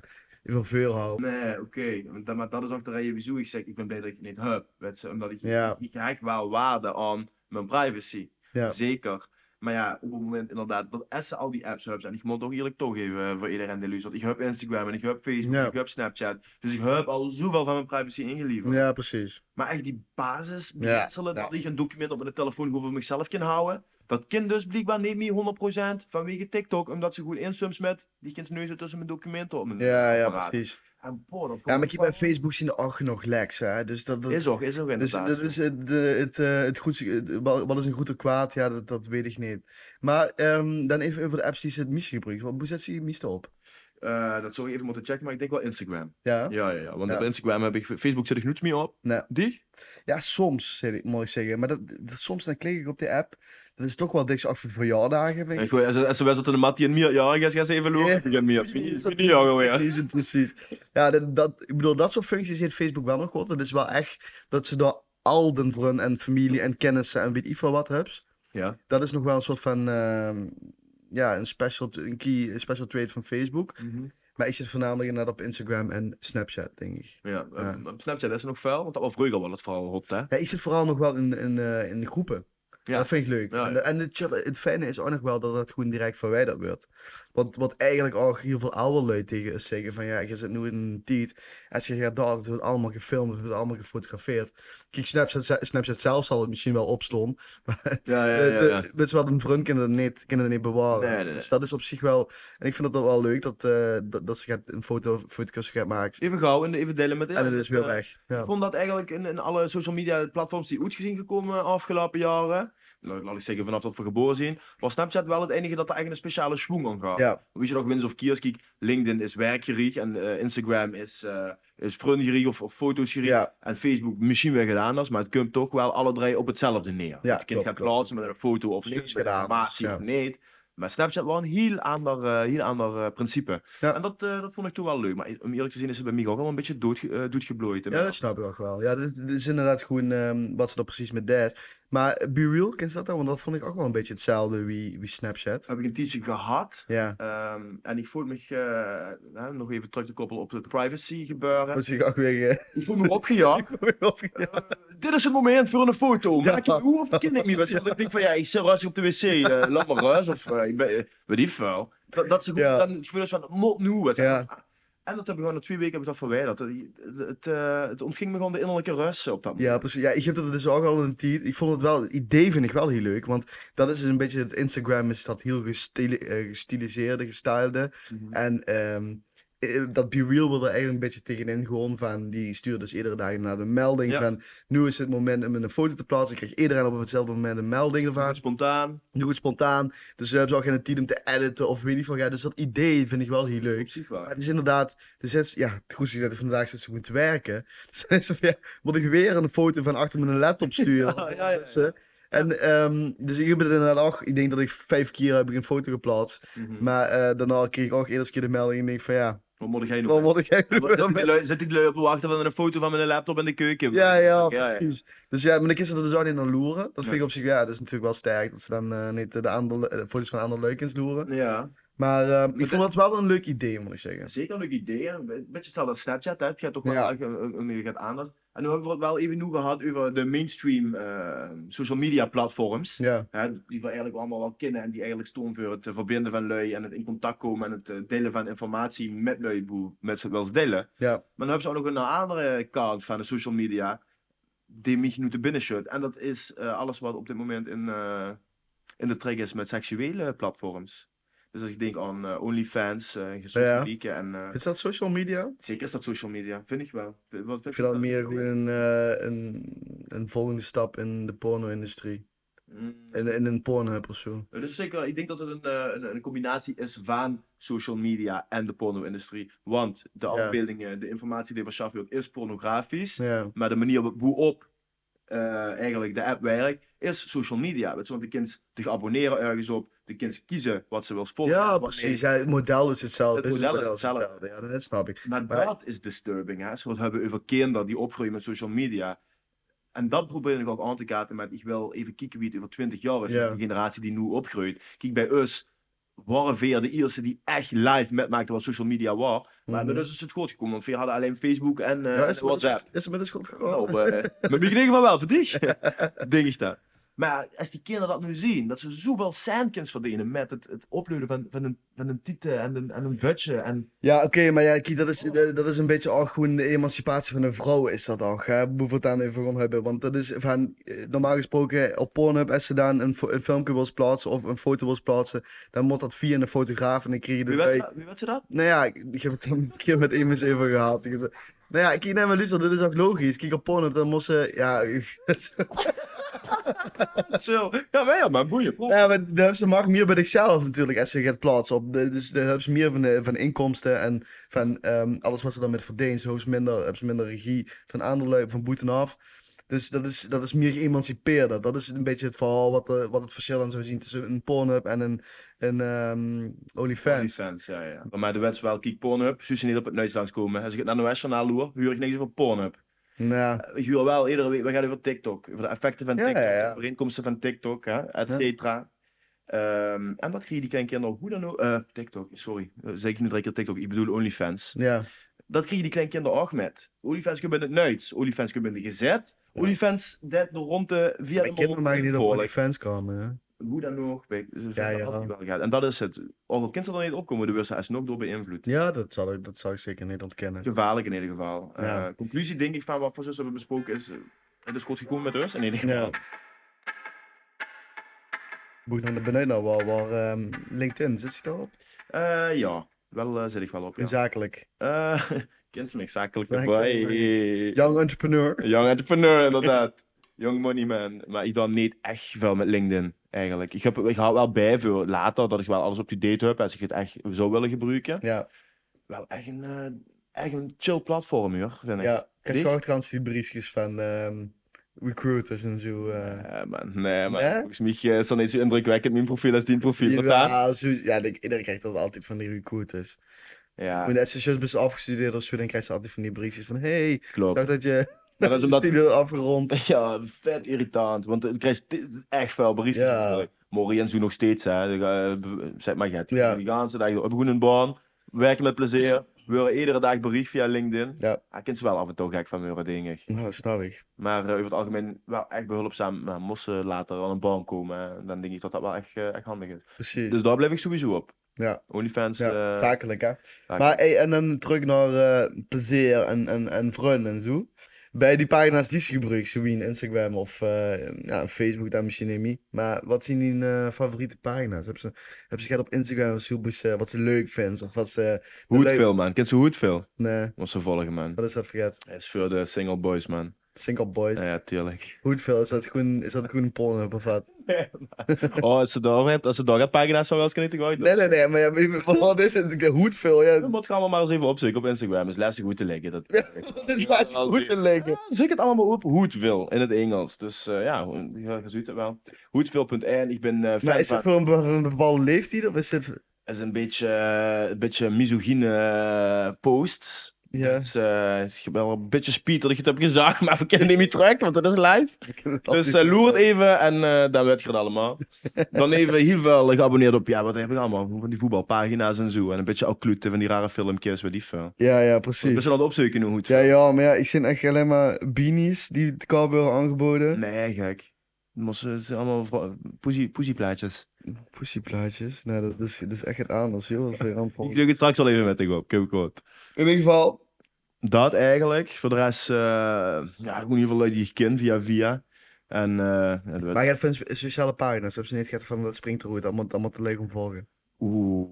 [SPEAKER 1] over veel houden.
[SPEAKER 2] Nee, oké. Want dat- Maar dat is ook de reden wieso ik zeg, ik ben blij dat ik het niet heb. Weet je, omdat ik,
[SPEAKER 1] Ja.
[SPEAKER 2] ik hecht wel waarde aan mijn privacy.
[SPEAKER 1] Ja.
[SPEAKER 2] Zeker. Maar ja, op het moment inderdaad, dat essen al die apps hebben. En ik moet toch eerlijk toegeven eh, voor iedereen de illusie. Want ik heb Instagram en ik heb Facebook,
[SPEAKER 1] Ja.
[SPEAKER 2] en ik heb Snapchat. Dus ik heb al zoveel van mijn privacy ingeleverd.
[SPEAKER 1] Ja, precies.
[SPEAKER 2] Maar echt die basis,
[SPEAKER 1] Ja,
[SPEAKER 2] beginselen,
[SPEAKER 1] ja.
[SPEAKER 2] dat ik een document op mijn telefoon gewoon voor mezelf kan houden. Dat kind dus blijkbaar niet meer 100% vanwege TikTok, omdat ze goed insums met die kind neuzen tussen mijn documenten op mijn
[SPEAKER 1] Ja, ja,
[SPEAKER 2] apparaat.
[SPEAKER 1] precies.
[SPEAKER 2] En boah, dat
[SPEAKER 1] Ja, maar
[SPEAKER 2] komt
[SPEAKER 1] kijk, bij
[SPEAKER 2] wel-
[SPEAKER 1] Facebook zien er ook nog leks, hè. Dus dat, dat,
[SPEAKER 2] Is ook, is ook
[SPEAKER 1] dus
[SPEAKER 2] inderdaad.
[SPEAKER 1] dat is het, de, het, eh, het goed, het- wat wat is een goed of kwaad? Ja, dat, dat weet ik niet. Maar ehm, dan even over de apps die ze het meeste gebruiken. Want hoe zet ze je meeste op?
[SPEAKER 2] Eh, dat zou je even moeten checken, maar ik denk wel Instagram.
[SPEAKER 1] Ja,
[SPEAKER 2] Ja, ja, ja. Want
[SPEAKER 1] Ja.
[SPEAKER 2] op Instagram heb ik, Facebook zit ik niets meer op.
[SPEAKER 1] Nee.
[SPEAKER 2] Die?
[SPEAKER 1] ja soms, zeg ik, moet ik zeggen. Maar dat, dat- soms dan klik ik op die app. Dat is toch wel diks af voor verjaardagen, vind
[SPEAKER 2] En
[SPEAKER 1] ik.
[SPEAKER 2] gewoon, als, als ze wedstrijd in de mat die een meer, ja, ik ga eens even lopen.
[SPEAKER 1] Ja.
[SPEAKER 2] Ik heb meer. Wie
[SPEAKER 1] Precies.
[SPEAKER 2] wie die jongen weer?
[SPEAKER 1] Precies, precies. Ja, dat, dat, ik bedoel, dat soort functies heeft Facebook wel nog goed. Dat is wel echt dat ze daar al den vrienden en familie en kennissen en weet ik veel wat hubs.
[SPEAKER 2] Ja.
[SPEAKER 1] Dat is nog wel een soort van, ehm, ja, een special, een key, een special trait van Facebook. Maar ik zit voornamelijk inderdaad op Instagram en Snapchat, denk ik.
[SPEAKER 2] Ja,
[SPEAKER 1] Ja.
[SPEAKER 2] eh, op Snapchat is er nog vuil, want dat was vroeger wel het verhaal hot, hè?
[SPEAKER 1] Ja, ik zit vooral nog wel in, in, eh, in de groepen.
[SPEAKER 2] Ja.
[SPEAKER 1] Dat vind ik leuk.
[SPEAKER 2] Ja,
[SPEAKER 1] En, eh,
[SPEAKER 2] ja.
[SPEAKER 1] en het, chill- het fijne is ook nog wel dat dat gewoon direct verwijderd wordt. Want wat eigenlijk ook heel veel oude lui tegen is zeggen van ja, je zit nu in een tijd en je gaat daar, het wordt allemaal gefilmd, het wordt allemaal gefotografeerd. Kijk, Snapchat, ze- Snapchat zelf zal het misschien wel opslaan, maar
[SPEAKER 2] Ja, ja,
[SPEAKER 1] de- de- weet je wel, een vriend kan dat niet, kan dat niet bewaren.
[SPEAKER 2] Nee, nee, nee.
[SPEAKER 1] Dus dat is op zich wel, en ik vind het wel leuk dat, eh, dat, dat ze gaat een foto, foto's gaat maken.
[SPEAKER 2] Even gauw en even delen met
[SPEAKER 1] en het
[SPEAKER 2] dat,
[SPEAKER 1] is weer
[SPEAKER 2] eh,
[SPEAKER 1] weg. Ja.
[SPEAKER 2] Ik vond dat eigenlijk in, in alle social media platforms die ooit gezien gekomen afgelopen jaren, laat, laat ik zeggen vanaf dat we geboren zijn, was Snapchat wel het enige dat er eigenlijk een speciale schwung aan gaf.
[SPEAKER 1] Ja.
[SPEAKER 2] Weet je nog, Wins of Kierskiek, LinkedIn is werkgericht en eh, Instagram is, eh is vriendgericht of, of fotosgericht.
[SPEAKER 1] Ja.
[SPEAKER 2] En Facebook misschien weer gedaan anders, maar het komt toch wel alle drie op hetzelfde neer. Dat je kind
[SPEAKER 1] klopt,
[SPEAKER 2] gaat
[SPEAKER 1] klopt.
[SPEAKER 2] plaatsen met een foto of
[SPEAKER 1] Niks
[SPEAKER 2] niet, met
[SPEAKER 1] gedaan,
[SPEAKER 2] informatie
[SPEAKER 1] ja.
[SPEAKER 2] of niet. Maar Snapchat was een heel ander, eh, heel ander eh, principe.
[SPEAKER 1] Ja.
[SPEAKER 2] En dat, eh, dat vond ik toen wel leuk. Maar om eerlijk te zijn is het bij mij ook wel een beetje doodge, eh, doodgeblooid.
[SPEAKER 1] Ja, dat snap ik ook wel. Ja, dit, dit is inderdaad gewoon ehm, wat ze dan precies met dat. Maar eh, Be Real, ken je dat dan? Want dat vond ik ook wel een beetje hetzelfde wie, wie Snapchat.
[SPEAKER 2] heb ik een teacher gehad.
[SPEAKER 1] Ja,
[SPEAKER 2] Ehm, en ik voel me, eh, hè, nog even terug te koppelen op het privacy gebeuren.
[SPEAKER 1] dat zie ik ook weer eh,
[SPEAKER 2] Ik voel me opgejaagd.
[SPEAKER 1] weer opge-
[SPEAKER 2] Eh, dit is het moment voor een foto.
[SPEAKER 1] Ja.
[SPEAKER 2] Maak ik hoe of ken ik niet? Dat ik denk van ja, ik zit rustig op de wc. eh, laat me rust. Of eh, ik ben, eh, weet ik veel. Dat, dat ze goed
[SPEAKER 1] Ja.
[SPEAKER 2] dan het gevoel is van mot nu. weet je.
[SPEAKER 1] Ja.
[SPEAKER 2] En dat heb ik gewoon na twee weken heb ik dat verwijderd. Het, het, eh, het ontging me gewoon de innerlijke rust op dat moment.
[SPEAKER 1] Ja, precies. Ja, ik heb dat dus ook al een tijd. Ik vond het wel, het idee vind ik wel heel leuk. Want dat is dus een beetje, het Instagram is dat heel gestili- eh, gestiliseerde, gestylede.
[SPEAKER 2] Mhm.
[SPEAKER 1] En ehm, eh, dat Be Real wilde eigenlijk een beetje tegenin gewoon van, die stuurde dus iedere dag naar de melding
[SPEAKER 2] Ja.
[SPEAKER 1] van, nu is het moment om een foto te plaatsen. Ik kreeg iedereen op hetzelfde moment een melding ervan.
[SPEAKER 2] Spontaan.
[SPEAKER 1] doe het spontaan. Dus ze hebben ook geen tijd om te editen of weet niet van ja. Dus dat idee vind ik wel heel leuk.
[SPEAKER 2] Precies
[SPEAKER 1] Maar
[SPEAKER 2] waar.
[SPEAKER 1] het is inderdaad, dus het is, ja, het goed is dat ik vandaag zit ze goed te werken. Dus dan is het van, ja, moet ik weer een foto van achter mijn laptop sturen.
[SPEAKER 2] Ja, ja, ja,
[SPEAKER 1] Of ze. En ehm, dus ik heb het inderdaad ook, ik denk dat ik vijf keer heb ik een foto geplaatst.
[SPEAKER 2] Mhm.
[SPEAKER 1] Maar eh, daarna kreeg ik ook eerst keer de melding en denk van ja,
[SPEAKER 2] Wat moet jij
[SPEAKER 1] wat
[SPEAKER 2] doen?
[SPEAKER 1] moet ik eigenlijk
[SPEAKER 2] Zet
[SPEAKER 1] wel
[SPEAKER 2] die
[SPEAKER 1] met-
[SPEAKER 2] lui- Zet die lui op te wachten van een foto van mijn laptop in de keuken.
[SPEAKER 1] Ja, ja,
[SPEAKER 2] Ja, ja.
[SPEAKER 1] precies. Dus ja, maar dan is er dus ook niet naar loeren. Dat vind
[SPEAKER 2] Ja.
[SPEAKER 1] ik op zich, ja, dat is natuurlijk wel sterk. Dat ze dan eh, niet de andere, eh, foto's van andere leukens loeren.
[SPEAKER 2] Ja,
[SPEAKER 1] Maar ehm, ik
[SPEAKER 2] Maar
[SPEAKER 1] vond dat wel een leuk idee, moet ik zeggen.
[SPEAKER 2] zeker een leuk idee. hè. Een beetje hetzelfde als Snapchat, hè. Het gaat toch wel
[SPEAKER 1] Ja.
[SPEAKER 2] erg om- om- om je gaat aandacht. En nu hebben we het wel even nu gehad over de mainstream eh, social media platforms.
[SPEAKER 1] Ja,
[SPEAKER 2] Hè, die we eigenlijk allemaal wel kennen en die eigenlijk stonden voor het eh, verbinden van lui en het in contact komen en het eh, delen van informatie met lui, hoe met ze wel eens delen.
[SPEAKER 1] ja,
[SPEAKER 2] Maar dan hebben ze ook nog een andere kant van de social media die mij nu te binnen schudt. En dat is eh, alles wat op dit moment in, eh, in de trek is met seksuele platforms. Dus als ik denk aan eh, OnlyFans, eh
[SPEAKER 1] Ja.
[SPEAKER 2] gesloten lieken en eh,
[SPEAKER 1] is dat social media?
[SPEAKER 2] zeker is dat social media, vind ik wel. Wat- Wat
[SPEAKER 1] Ik vind dat meer gewoon een, eh, een, een volgende stap in de porno-industrie.
[SPEAKER 2] Mm.
[SPEAKER 1] In, in een pornhub of zo.
[SPEAKER 2] Het is zeker, ik denk dat het een, eh, een, een combinatie is van social media en de porno-industrie. Want de
[SPEAKER 1] Ja.
[SPEAKER 2] afbeeldingen, de informatie die we schaffen ook is pornografisch.
[SPEAKER 1] Ja,
[SPEAKER 2] Maar de manier waarop- waarop eh, eigenlijk de app werkt, is social media. Weet je, want de kind zich abonneren ergens op, de kind kiezen wat ze wil volgen.
[SPEAKER 1] ja
[SPEAKER 2] wat
[SPEAKER 1] precies.
[SPEAKER 2] niet.
[SPEAKER 1] Ja, het model is hetzelfde.
[SPEAKER 2] Het model is hetzelfde.
[SPEAKER 1] Ja, dat snap ik.
[SPEAKER 2] Maar
[SPEAKER 1] Maar-
[SPEAKER 2] dat is disturbing. Hè? Als we het hebben over kinderen die opgroeien met social media. En dat probeer ik ook aan te kaarten met, ik wil even kijken wie het over 20 jaar is,
[SPEAKER 1] Ja.
[SPEAKER 2] met de generatie die nu opgroeit. Kijk, bij ons waren weer de eerste die echt live metmaakten wat social media was. Maar
[SPEAKER 1] Mhm.
[SPEAKER 2] dat is het goed gekomen, want we hadden alleen Facebook en, eh,
[SPEAKER 1] Ja, is het
[SPEAKER 2] en
[SPEAKER 1] met de
[SPEAKER 2] WhatsApp.
[SPEAKER 1] schot- is het met de schot gegaan?
[SPEAKER 2] Nou, eh, maar in ieder geval wel voor dich. Denk ik dat. Maar als die kinderen dat nu zien, dat ze zoveel centjes verdienen met het, het uploaden van, van, een, van een titel en een, en een budget. En,
[SPEAKER 1] Ja, oké, maar ja, kijk, dat is, eh, dat is een beetje ook gewoon de emancipatie van een vrouw is dat al. Hè? Moet we het dan even rond hebben. Want dat is van, eh, normaal gesproken op Pornhub, als ze dan een, fo- een filmpje wil plaatsen of een foto wil plaatsen, dan moet dat via een fotograaf en dan krijg je
[SPEAKER 2] wie
[SPEAKER 1] de...
[SPEAKER 2] weet, wie weet ze dat?
[SPEAKER 1] Nou ja, ik, ik heb het een keer met iemand even gehaald. Ik zei, nou ja, kijk, nee, maar Luister, dit is ook logisch. Kijk op Pornhub, dan moest ze... Ja,
[SPEAKER 2] Chill. Ja, maar ja, maar boeien. plop.
[SPEAKER 1] Ja, maar daar hebben ze mag meer bij zichzelf natuurlijk als ze gaat plaatsen op. De- Dus daar hebben ze meer van, de, van inkomsten en van ehm, alles wat ze dan met verdienen. Zo is minder, hebben ze minder regie van andere lui, van boeten af. Dus dat is, dat is meer geëmancipeerder. Dat is een beetje het verhaal wat, eh, wat het verschil dan zou zien tussen een Pornhub en een, een ehm, OnlyFans.
[SPEAKER 2] Fans, ja, ja. Maar mij de wet is wel, kijk Pornhub, Suus niet op het neus langskomen. Als ik het naar de Nationaal loer, huur ik niks over Pornhub.
[SPEAKER 1] Nou Ja,
[SPEAKER 2] Ik huur wel iedere week, we gaan over TikTok, over de effecten van
[SPEAKER 1] Ja,
[SPEAKER 2] TikTok,
[SPEAKER 1] ja, ja.
[SPEAKER 2] de overeenkomsten van TikTok, hè, et cetera. Ehm, en dat kreeg die kleine kinderen hoe dan ook. eh, TikTok, sorry. Eh, Zeker niet drie keer TikTok, ik bedoel OnlyFans.
[SPEAKER 1] ja.
[SPEAKER 2] Dat kreeg die kleine kinderen ook met. OnlyFans kunnen in het nuits, OnlyFans kunnen in de gezet, OnlyFans dat de ronde via
[SPEAKER 1] Mijn kinderen maken niet op
[SPEAKER 2] mogelijk
[SPEAKER 1] OnlyFans komen. Hè?
[SPEAKER 2] hoe dan ook. weet je, ze-
[SPEAKER 1] Ja,
[SPEAKER 2] dat
[SPEAKER 1] ja.
[SPEAKER 2] had hij wel gehad. En dat is het. Als het kind er dan niet opkomen, de ze alsnog door beïnvloed.
[SPEAKER 1] Ja, dat zal, ik, dat zal ik zeker niet ontkennen.
[SPEAKER 2] Gevaarlijk in ieder geval.
[SPEAKER 1] Ja.
[SPEAKER 2] Eh, conclusie denk ik van wat voor zus hebben besproken is, eh, het is goed gekomen met ons in ieder geval.
[SPEAKER 1] Ja. Boeg naar beneden nou wel, waar ehm, LinkedIn, zit hij daarop?
[SPEAKER 2] Eh, ja. wel eh, zit ik wel op. Ja.
[SPEAKER 1] Zakelijk.
[SPEAKER 2] Eh, Kent ze me zakelijk
[SPEAKER 1] Zakelijk,
[SPEAKER 2] erbij.
[SPEAKER 1] Young entrepreneur.
[SPEAKER 2] Young entrepreneur, inderdaad. Young money man. Maar ik dan niet echt veel met LinkedIn, eigenlijk. Ik, heb, ik hou wel bij voor later, dat ik wel alles op die date heb, als ik het echt zou willen gebruiken.
[SPEAKER 1] Ja,
[SPEAKER 2] Wel echt een, eh, echt een chill platform, hoor, vind ik.
[SPEAKER 1] ja. Ik
[SPEAKER 2] Die?
[SPEAKER 1] heb trouwens die briefjes van ehm, recruiters en zo. eh.
[SPEAKER 2] Nee, man. Nee, man.
[SPEAKER 1] Nee?
[SPEAKER 2] Volgens mij eh, is dat niet zo indrukwekkend, mijn profiel, als die profiel.
[SPEAKER 1] Die-
[SPEAKER 2] Wat dan?
[SPEAKER 1] ja, zo, ja, ik- iedereen krijgt dat altijd van die recruiters.
[SPEAKER 2] Ja,
[SPEAKER 1] Toen de SSS best dus afgestudeerd of zo, dan krijg je altijd van die briefjes van hey, ik
[SPEAKER 2] klopt.
[SPEAKER 1] dacht dat je
[SPEAKER 2] Maar dat is omdat...
[SPEAKER 1] studie had afgerond.
[SPEAKER 2] Ja, vet irritant, want het krijgt t- echt veel berichten.
[SPEAKER 1] Ja.
[SPEAKER 2] natuurlijk. Morrie en zo nog steeds, hè. Eh, Zeg maar, gaat.
[SPEAKER 1] Ja.
[SPEAKER 2] Die gaan ze daar op een baan, werken met plezier, worden iedere dag bericht via LinkedIn.
[SPEAKER 1] Ja.
[SPEAKER 2] Hij kent ze wel af en toe gek van muren, denk ik.
[SPEAKER 1] Nou, dat snap ik.
[SPEAKER 2] Maar eh, over het algemeen wel echt behulpzaam. Maar moest ze later wel een baan komen, hè, dan denk ik dat dat wel echt, eh, echt handig is.
[SPEAKER 1] Precies.
[SPEAKER 2] Dus daar blijf ik sowieso op.
[SPEAKER 1] Ja.
[SPEAKER 2] Onlyfans.
[SPEAKER 1] ja,
[SPEAKER 2] eh,
[SPEAKER 1] zakelijk hè.
[SPEAKER 2] zaken.
[SPEAKER 1] Maar hey, en dan terug naar eh, plezier en, en, en vrienden en zo. Bij die pagina's die ze gebruikt, zo wie in Instagram of eh, ja, Facebook, daar misschien niet. mee. Maar wat zijn die eh, favoriete pagina's? Hebben ze, hebben ze gehad op Instagram of zo, dus, eh, wat ze leuk vindt? Of wat ze.
[SPEAKER 2] hoe het
[SPEAKER 1] leuk-
[SPEAKER 2] veel, man. Kent ze hoe het veel?
[SPEAKER 1] Nee,
[SPEAKER 2] Wat ze volgen, man.
[SPEAKER 1] wat is dat vergeten?
[SPEAKER 2] Dat is voor de single boys, man.
[SPEAKER 1] Single Boys.
[SPEAKER 2] Ja, ja tuurlijk.
[SPEAKER 1] Hoe het veel is dat gewoon, is dat gewoon porno of wat?
[SPEAKER 2] oh, als ze daar gaat, als ze daar gaat pagina's van wel eens kan ik gooien.
[SPEAKER 1] Nee, nee, nee, maar ja, van wat is het? Ik denk, Hoe het veel, ja.
[SPEAKER 2] Dat moet gaan we maar eens even opzoeken op Instagram. Is lastig goed te leggen. Dat...
[SPEAKER 1] Dat is best goed te leggen.
[SPEAKER 2] Ja, zoek het allemaal op hoe het wil in het Engels. Dus eh, ja, gewoon- ja, je ziet het wel. Hoe het wil.n. Ik ben eh, fan
[SPEAKER 1] Maar is
[SPEAKER 2] van...
[SPEAKER 1] het voor een be- een bepaalde leeftijd of is dit.
[SPEAKER 2] is een beetje, eh, een beetje misogyne eh, posts.
[SPEAKER 1] Ja,
[SPEAKER 2] Dus eh, het is wel een beetje speed dat ik het heb gezegd, maar we kennen niet meer terug, want dat is live.
[SPEAKER 1] ik ken het
[SPEAKER 2] Dus
[SPEAKER 1] altijd.
[SPEAKER 2] eh, loer het even en eh, dan weet je het allemaal. Dan even heel veel geabonneerd op, ja, wat heb ik allemaal? Van die voetbalpagina's en zo. En een beetje occluten van die rare filmpjes, weet die veel.
[SPEAKER 1] Ja, ja,
[SPEAKER 2] We zijn
[SPEAKER 1] precies.
[SPEAKER 2] aan het opzoeken hoe het
[SPEAKER 1] Ja, ja, maar ja, ik zie echt alleen maar beanies die de cowboy aangeboden.
[SPEAKER 2] Nee, gek. Het moest- eh, Het zijn allemaal vro- poesie- poesieplaatjes.
[SPEAKER 1] Pussyplaatjes. Nee, dat is, dat is echt het aanwas, joh. Dat is weer rampvol.
[SPEAKER 2] Ik druk het straks al even met de op. Ik heb gehoord.
[SPEAKER 1] In ieder geval,
[SPEAKER 2] Dat eigenlijk. Voor de rest, eh, ja, ik moet in ieder geval leuk die ik ken via via. En eh, ja, dat werd-
[SPEAKER 1] Maar je hebt van spe- sociale pagina's, heb ze niet gehad van dat springt er goed, allemaal, allemaal te leuk om te volgen.
[SPEAKER 2] Oeh.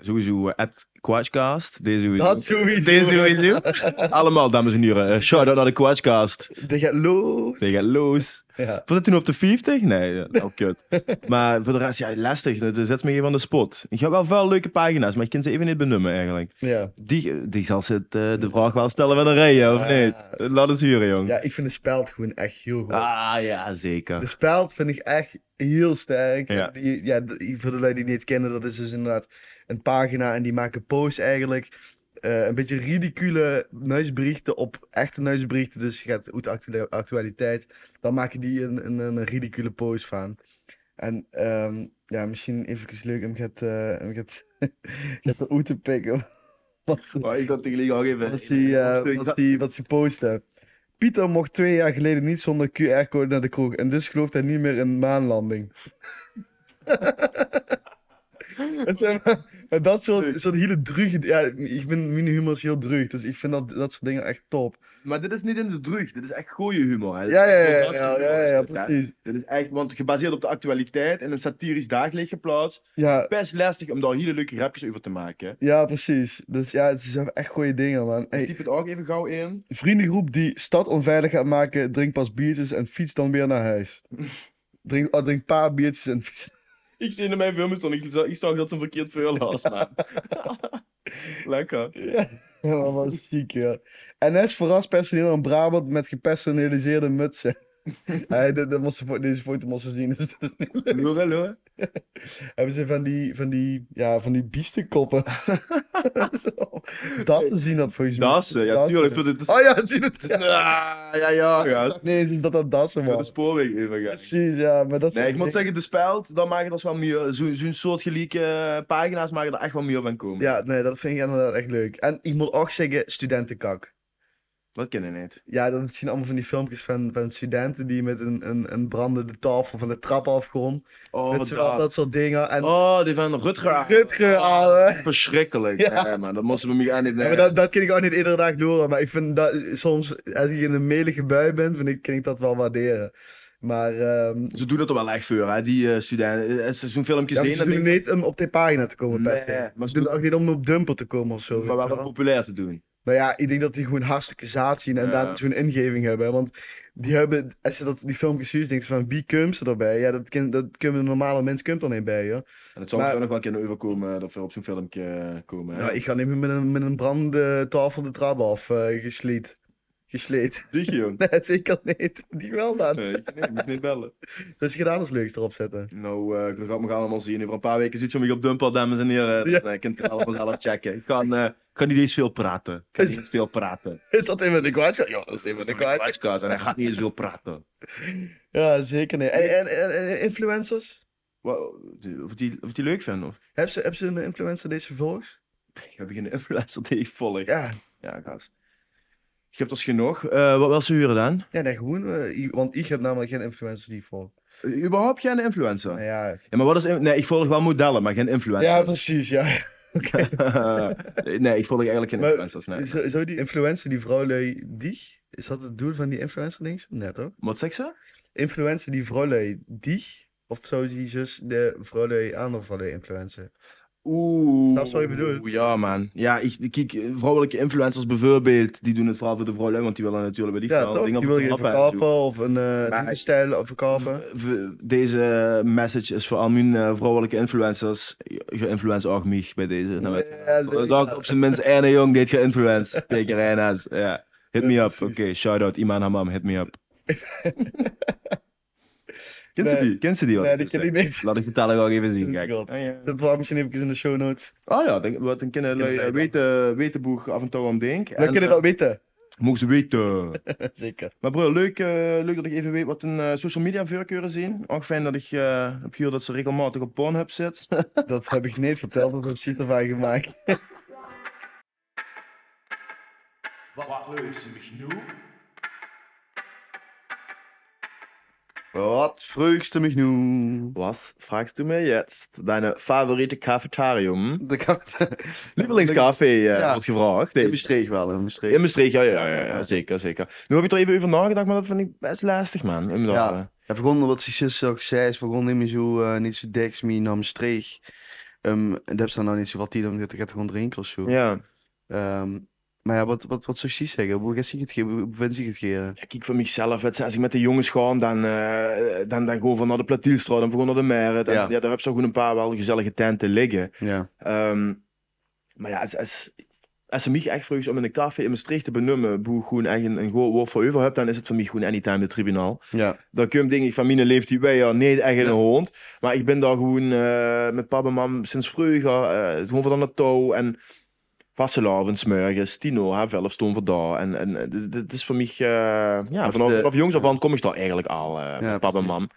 [SPEAKER 2] Sowieso eh, at Quatchcast. Deze sowieso.
[SPEAKER 1] Dat sowieso.
[SPEAKER 2] Deze sowieso. Allemaal, dames en heren. Eh, Shout-out naar de Quatchcast.
[SPEAKER 1] Die gaat los.
[SPEAKER 2] Tegen los.
[SPEAKER 1] Ja.
[SPEAKER 2] Was het toen op de 50? Nee, ja, nou kut. Maar voor de rest, ja, lastig. Dat zet me even van de spot. Ik heb wel veel leuke pagina's, maar ik kan ze even niet benoemen eigenlijk.
[SPEAKER 1] Ja.
[SPEAKER 2] Die, die zal ze het, eh, de vraag wel stellen met een rij, of
[SPEAKER 1] Ja.
[SPEAKER 2] niet? Laat eens huren, jong.
[SPEAKER 1] Ah. ja, Dus- ik vind de speld gewoon echt heel goed.
[SPEAKER 2] Ah, ja, zeker.
[SPEAKER 1] De speld vind ik echt heel sterk.
[SPEAKER 2] Ja.
[SPEAKER 1] Die, ja, die- voor de lui die het niet kennen, dat is dus inderdaad een pagina en die maken posts eigenlijk. eh, een beetje ridicule neusberichten op echte neusberichten. Dus je gaat uit actuele- actualiteit. Dan maken die een, een, een ridicule post van. En ehm, ja, misschien even leuk om gaat, eh, om gaat, gaat de oe te pikken. Wat, ze-
[SPEAKER 2] Maar Oh, ik had tegen Liga ook even...
[SPEAKER 1] wat, ze, eh, wat, ze, wat ze posten. Pieter mocht twee jaar geleden niet zonder QR-code naar de kroeg. En dus gelooft hij niet meer in maanlanding. Het zijn maar, maar dat soort, soort hele druge... Ja, ik vind mini-humor is heel druk. Dus ik vind dat, dat soort dingen echt top.
[SPEAKER 2] Maar dit is niet in de drug, dit is echt goede humor. Hè.
[SPEAKER 1] Ja, ja, ja, ja, ja, ja, ja, precies.
[SPEAKER 2] Dit is echt, want gebaseerd op de actualiteit en een satirisch daglicht geplaatst.
[SPEAKER 1] Ja,
[SPEAKER 2] Best lastig om daar hele leuke grapjes over te maken. hè.
[SPEAKER 1] ja, precies. Dus ja, het zijn echt goede dingen, man. Hey,
[SPEAKER 2] Typ het ook even gauw in.
[SPEAKER 1] vriendengroep die stad onveilig gaat maken, drink pas biertjes en fiets dan weer naar huis. Drink, oh, drink paar biertjes en fiets.
[SPEAKER 2] Ik zie in mijn films dan, ik, zag- ik zag dat ze een verkeerd vuil was, man. Lekker.
[SPEAKER 1] Ja, dat was chic, ja. NS verrast personeel in Brabant met gepersonaliseerde mutsen. Hij, dat, dat moest, ze voor- deze foto moesten zien. Dus dat is niet leuk.
[SPEAKER 2] Hallo, hallo.
[SPEAKER 1] Hebben ze van die, van die, ja, van die biestenkoppen. Zo. Dat te zien dat volgens mij.
[SPEAKER 2] Dassen, eh, ja,
[SPEAKER 1] Dassen.
[SPEAKER 2] tuurlijk. Voor de,
[SPEAKER 1] Oh ja, het zien het. Ja.
[SPEAKER 2] Ah, ja, ja, gast.
[SPEAKER 1] Nee, het is dat dat dassen
[SPEAKER 2] Voor de
[SPEAKER 1] was.
[SPEAKER 2] spoorweg even gaan.
[SPEAKER 1] Precies, ja, maar dat
[SPEAKER 2] Nee,
[SPEAKER 1] zijn
[SPEAKER 2] ik moet
[SPEAKER 1] dingen-
[SPEAKER 2] zeggen, de speld, dan maken dat wel meer. Zo'n zo'n soort gelieke pagina's maken er echt wel meer van komen.
[SPEAKER 1] Ja, nee, dat vind ik inderdaad echt leuk. En ik moet ook zeggen, studentenkak.
[SPEAKER 2] Dat kennen we niet.
[SPEAKER 1] Ja, dan zien allemaal van die filmpjes van, van studenten die met een, een, een brandende tafel van de trap af gewoon.
[SPEAKER 2] Oh,
[SPEAKER 1] Dat
[SPEAKER 2] wat
[SPEAKER 1] soort,
[SPEAKER 2] daar.
[SPEAKER 1] dat soort dingen. En
[SPEAKER 2] Oh, die van Rutger.
[SPEAKER 1] Rutger, ouwe.
[SPEAKER 2] Verschrikkelijk.
[SPEAKER 1] Ja.
[SPEAKER 2] Nee, man, dat moesten we me aan
[SPEAKER 1] Ja, maar dat, dat kan ik ook niet iedere dag horen. Maar ik vind dat soms, als ik in een melige bui ben, vind ik, kan ik dat wel waarderen. Maar ehm
[SPEAKER 2] Ze doen het er wel echt voor, hè, die eh, studenten. Eh, Ze zo'n filmpjes
[SPEAKER 1] ja,
[SPEAKER 2] heen.
[SPEAKER 1] ze
[SPEAKER 2] dat
[SPEAKER 1] doen het
[SPEAKER 2] denk ik-
[SPEAKER 1] niet om op die pagina te komen,
[SPEAKER 2] Nee,
[SPEAKER 1] best. wel.
[SPEAKER 2] maar
[SPEAKER 1] ze
[SPEAKER 2] ze
[SPEAKER 1] doen het
[SPEAKER 2] doen-
[SPEAKER 1] ook niet om op dumper te komen of zo.
[SPEAKER 2] Maar
[SPEAKER 1] weet je
[SPEAKER 2] wel
[SPEAKER 1] wel.
[SPEAKER 2] populair te doen.
[SPEAKER 1] Nou ja, ik denk dat die gewoon hartstikke zaad zien en
[SPEAKER 2] Ja.
[SPEAKER 1] daar zo'n ingeving hebben. hè, Want die hebben, als je dat, die filmpjes ziet, denk je van wie komt ze erbij? Ja, dat, kan, dat kunnen een normale mens komt er niet bij, joh.
[SPEAKER 2] En het zou
[SPEAKER 1] Maar-
[SPEAKER 2] maar... nog wel kunnen overkomen dat we op zo'n filmpje eh, komen. hè.
[SPEAKER 1] Nou, ik ga niet meer met een, met een brandende tafel de trap af eh gesleed. Gesleed.
[SPEAKER 2] Dik, jong.
[SPEAKER 1] Nee, zeker niet. Die wel dan.
[SPEAKER 2] Nee, ik- nee, ik moet niet bellen.
[SPEAKER 1] Dus je gedaan als leuks erop zetten.
[SPEAKER 2] Nou, eh, ik ga me allemaal zien. Over een paar weken zit je me op Dumper, dames en heren.
[SPEAKER 1] Ja.
[SPEAKER 2] Dan eh, kunt u het allemaal zelf checken. Ik kan, eh, ik kan niet eens veel praten. Ik kan
[SPEAKER 1] Is-
[SPEAKER 2] niet eens veel praten.
[SPEAKER 1] Is dat even de kwaad? Ja, dat is
[SPEAKER 2] Dat
[SPEAKER 1] even
[SPEAKER 2] is
[SPEAKER 1] de
[SPEAKER 2] toch een
[SPEAKER 1] kwaad.
[SPEAKER 2] kwatschkast en hij gaat niet eens veel praten.
[SPEAKER 1] Ja, zeker niet. En, en, en, en influencers?
[SPEAKER 2] Wat- die- Of die, of die leuk vinden? Of...
[SPEAKER 1] Heb ze, heb ze een influencer deze volgens?
[SPEAKER 2] Ik heb geen influencer die ik volg. Ja,
[SPEAKER 1] Ja,
[SPEAKER 2] gast. Ik heb dat genoeg. Eh, wat wil ze huren dan?
[SPEAKER 1] ja nee, gewoon. eh, i- want ik heb namelijk geen influencers die ik volg.
[SPEAKER 2] Eh, überhaupt geen influencer?
[SPEAKER 1] Nou ja.
[SPEAKER 2] Ja, maar wat is... in- Nee, ik volg wel modellen, maar geen influencer.
[SPEAKER 1] ja, precies. Ja.
[SPEAKER 2] nee, ik volg eigenlijk geen
[SPEAKER 1] Maar-
[SPEAKER 2] influencers. Nee.
[SPEAKER 1] Zo, zo die influencer, die vrouwlui, die? Is dat het doel van die influencer dings? Net hoor.
[SPEAKER 2] Wat zegt ze?
[SPEAKER 1] Influencer die vrouwlui, die? Of zo die zus de vrouwlui andere vrouwlui influencer.
[SPEAKER 2] Oeh.
[SPEAKER 1] Snap je wat ik bedoel?
[SPEAKER 2] Oeh, Ja, man. Ja, ik, kijk, vrouwelijke influencers bijvoorbeeld, die doen het vooral voor de vrouwen, want die willen natuurlijk bij die
[SPEAKER 1] Ja,
[SPEAKER 2] vrouwen
[SPEAKER 1] toch?
[SPEAKER 2] dingen
[SPEAKER 1] Die
[SPEAKER 2] op
[SPEAKER 1] wil je
[SPEAKER 2] de trap hebben en
[SPEAKER 1] verkopen of een eh
[SPEAKER 2] Maar-
[SPEAKER 1] stijl verkopen.
[SPEAKER 2] zo. V- Deze message is voor al mijn eh, vrouwelijke influencers. Geïnfluence ook mij bij deze. Nou, weet je wel.
[SPEAKER 1] zeker.
[SPEAKER 2] dat is ook op zijn minst ene jong, dit geïnfluenced. Tegen Reina's. Ja. Hit me
[SPEAKER 1] Ja,
[SPEAKER 2] up. Oké,
[SPEAKER 1] precies.
[SPEAKER 2] shout-out. Iman Hamam, hit me up. Kent ze
[SPEAKER 1] Nee.
[SPEAKER 2] die? Kent ze die al?
[SPEAKER 1] Nee, dat ken ik niet.
[SPEAKER 2] Laat ik de talen gewoon even zien.
[SPEAKER 1] Dat is
[SPEAKER 2] Kijk.
[SPEAKER 1] goed.
[SPEAKER 2] Oh ja,
[SPEAKER 1] Zet wel misschien even in de show notes.
[SPEAKER 2] oh, ja denk, wat een kinderen
[SPEAKER 1] Kinderen
[SPEAKER 2] eh,
[SPEAKER 1] leuk,
[SPEAKER 2] weten, wetenboeg af en eh, toe aan denk.
[SPEAKER 1] We kunnen dat weten.
[SPEAKER 2] Mogen ze weten.
[SPEAKER 1] Zeker.
[SPEAKER 2] maar bro, leuk, eh, leuk dat ik even weet wat een eh, social media voorkeuren zien. Ook fijn dat ik eh, heb gehoord dat ze regelmatig op Pornhub zit.
[SPEAKER 1] Dat heb ik niet verteld, dat heb ik ervan gemaakt.
[SPEAKER 3] Wat leuze mich nu?
[SPEAKER 1] Wat vreugst du mich nu?
[SPEAKER 2] Was fragst du mir jetzt? Deine favoriete cafetarium?
[SPEAKER 1] De kat.
[SPEAKER 2] Lievelingscafé eh,
[SPEAKER 1] Ja.
[SPEAKER 2] wordt gevraagd.
[SPEAKER 1] In
[SPEAKER 2] Nee,
[SPEAKER 1] Maastricht wel, in Maastricht.
[SPEAKER 2] in Maastricht, ja, ja, ja,
[SPEAKER 1] Ja,
[SPEAKER 2] ja,
[SPEAKER 1] ja, ja.
[SPEAKER 2] zeker, zeker. Nu heb ik er even over nagedacht, maar dat vind ik best lastig, man. Inderdaad.
[SPEAKER 1] Ja.
[SPEAKER 2] eh.
[SPEAKER 1] Ja, vergonden wat zijn zus ook zei, is vergonden niet zo, eh, niet zo deks, meer naar Maastricht. Ehm, en dat is dan nou niet zo wat die dan, dat gaat gewoon drinken of zo.
[SPEAKER 2] ja.
[SPEAKER 1] Ehm, maar ja, wat, wat, wat zou ik zeggen? Hoe gaat zich het geven? Hoe vindt zich het geven?
[SPEAKER 2] Ja, Kijk, voor mezelf, het, als ik met de jongens ga, dan, eh, dan, dan gewoon van naar de Platielstraat, dan gewoon naar de Merit. En, ja.
[SPEAKER 1] Ja.
[SPEAKER 2] daar heb ze gewoon een paar wel gezellige tenten liggen.
[SPEAKER 1] Ja.
[SPEAKER 2] Ehm, maar ja, als, als, als ze mij echt vragen om in een café in Maastricht te benoemen, boe gewoon echt een, een goed woord voor over hebt, dan is het voor mij gewoon anytime de tribunaal.
[SPEAKER 1] Ja.
[SPEAKER 2] Dan kun je denken, van mijn leeftijd bij ja, nee, echt een
[SPEAKER 1] Ja.
[SPEAKER 2] hond. Maar ik ben daar gewoon eh, met papa en mam sinds vroeger, eh, gewoon van aan het touw. En vastelavond, smorgens, tien uur, hè, elf stond voor daar. En, en eh, dit- dit is voor mij, eh, ja,
[SPEAKER 1] Of
[SPEAKER 2] vanaf,
[SPEAKER 1] de-
[SPEAKER 2] vanaf jongs af aan kom ik daar eigenlijk al, eh,
[SPEAKER 1] Ja,
[SPEAKER 2] met papa
[SPEAKER 1] precies.
[SPEAKER 2] en mam.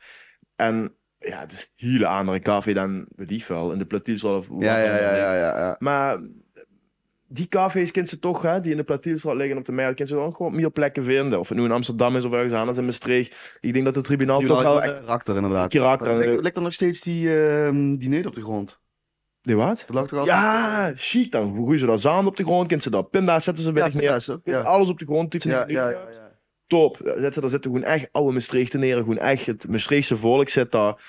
[SPEAKER 2] En ja, het is een hele andere café dan we die wel, in de Platielstraat of
[SPEAKER 1] Ja,
[SPEAKER 2] wat
[SPEAKER 1] ja,
[SPEAKER 2] dan
[SPEAKER 1] ja,
[SPEAKER 2] ook.
[SPEAKER 1] ja, ja, ja.
[SPEAKER 2] Maar die cafés kent ze toch, hè, die in de Platielstraat liggen op de Meijl, kent ze dan gewoon meer plekken vinden. Of het nu in Amsterdam is of ergens anders in Maastricht. Ik denk dat de tribunaal
[SPEAKER 1] Die
[SPEAKER 2] toch
[SPEAKER 1] wel
[SPEAKER 2] wel... eh,
[SPEAKER 1] echt karakter inderdaad.
[SPEAKER 2] karakter,
[SPEAKER 1] Lekt-
[SPEAKER 2] eh.
[SPEAKER 1] Lekt er nog steeds die, ehm die neut op de grond?
[SPEAKER 2] Die wat?
[SPEAKER 1] Dat lag er al.
[SPEAKER 2] Ja, chic. Dan groeien ze daar zand op de grond, kent ze daar pinda's zetten ze
[SPEAKER 1] ja,
[SPEAKER 2] weg neer.
[SPEAKER 1] ja, is ook,
[SPEAKER 2] Kent
[SPEAKER 1] ja.
[SPEAKER 2] Alles op de grond. typen
[SPEAKER 1] Ja,
[SPEAKER 2] ze
[SPEAKER 1] ja,
[SPEAKER 2] neer.
[SPEAKER 1] ja, ja.
[SPEAKER 2] Top. Zetten ze daar zitten gewoon echt oude Maastrichten neer. Gewoon echt het Maastrichtse volk zit daar.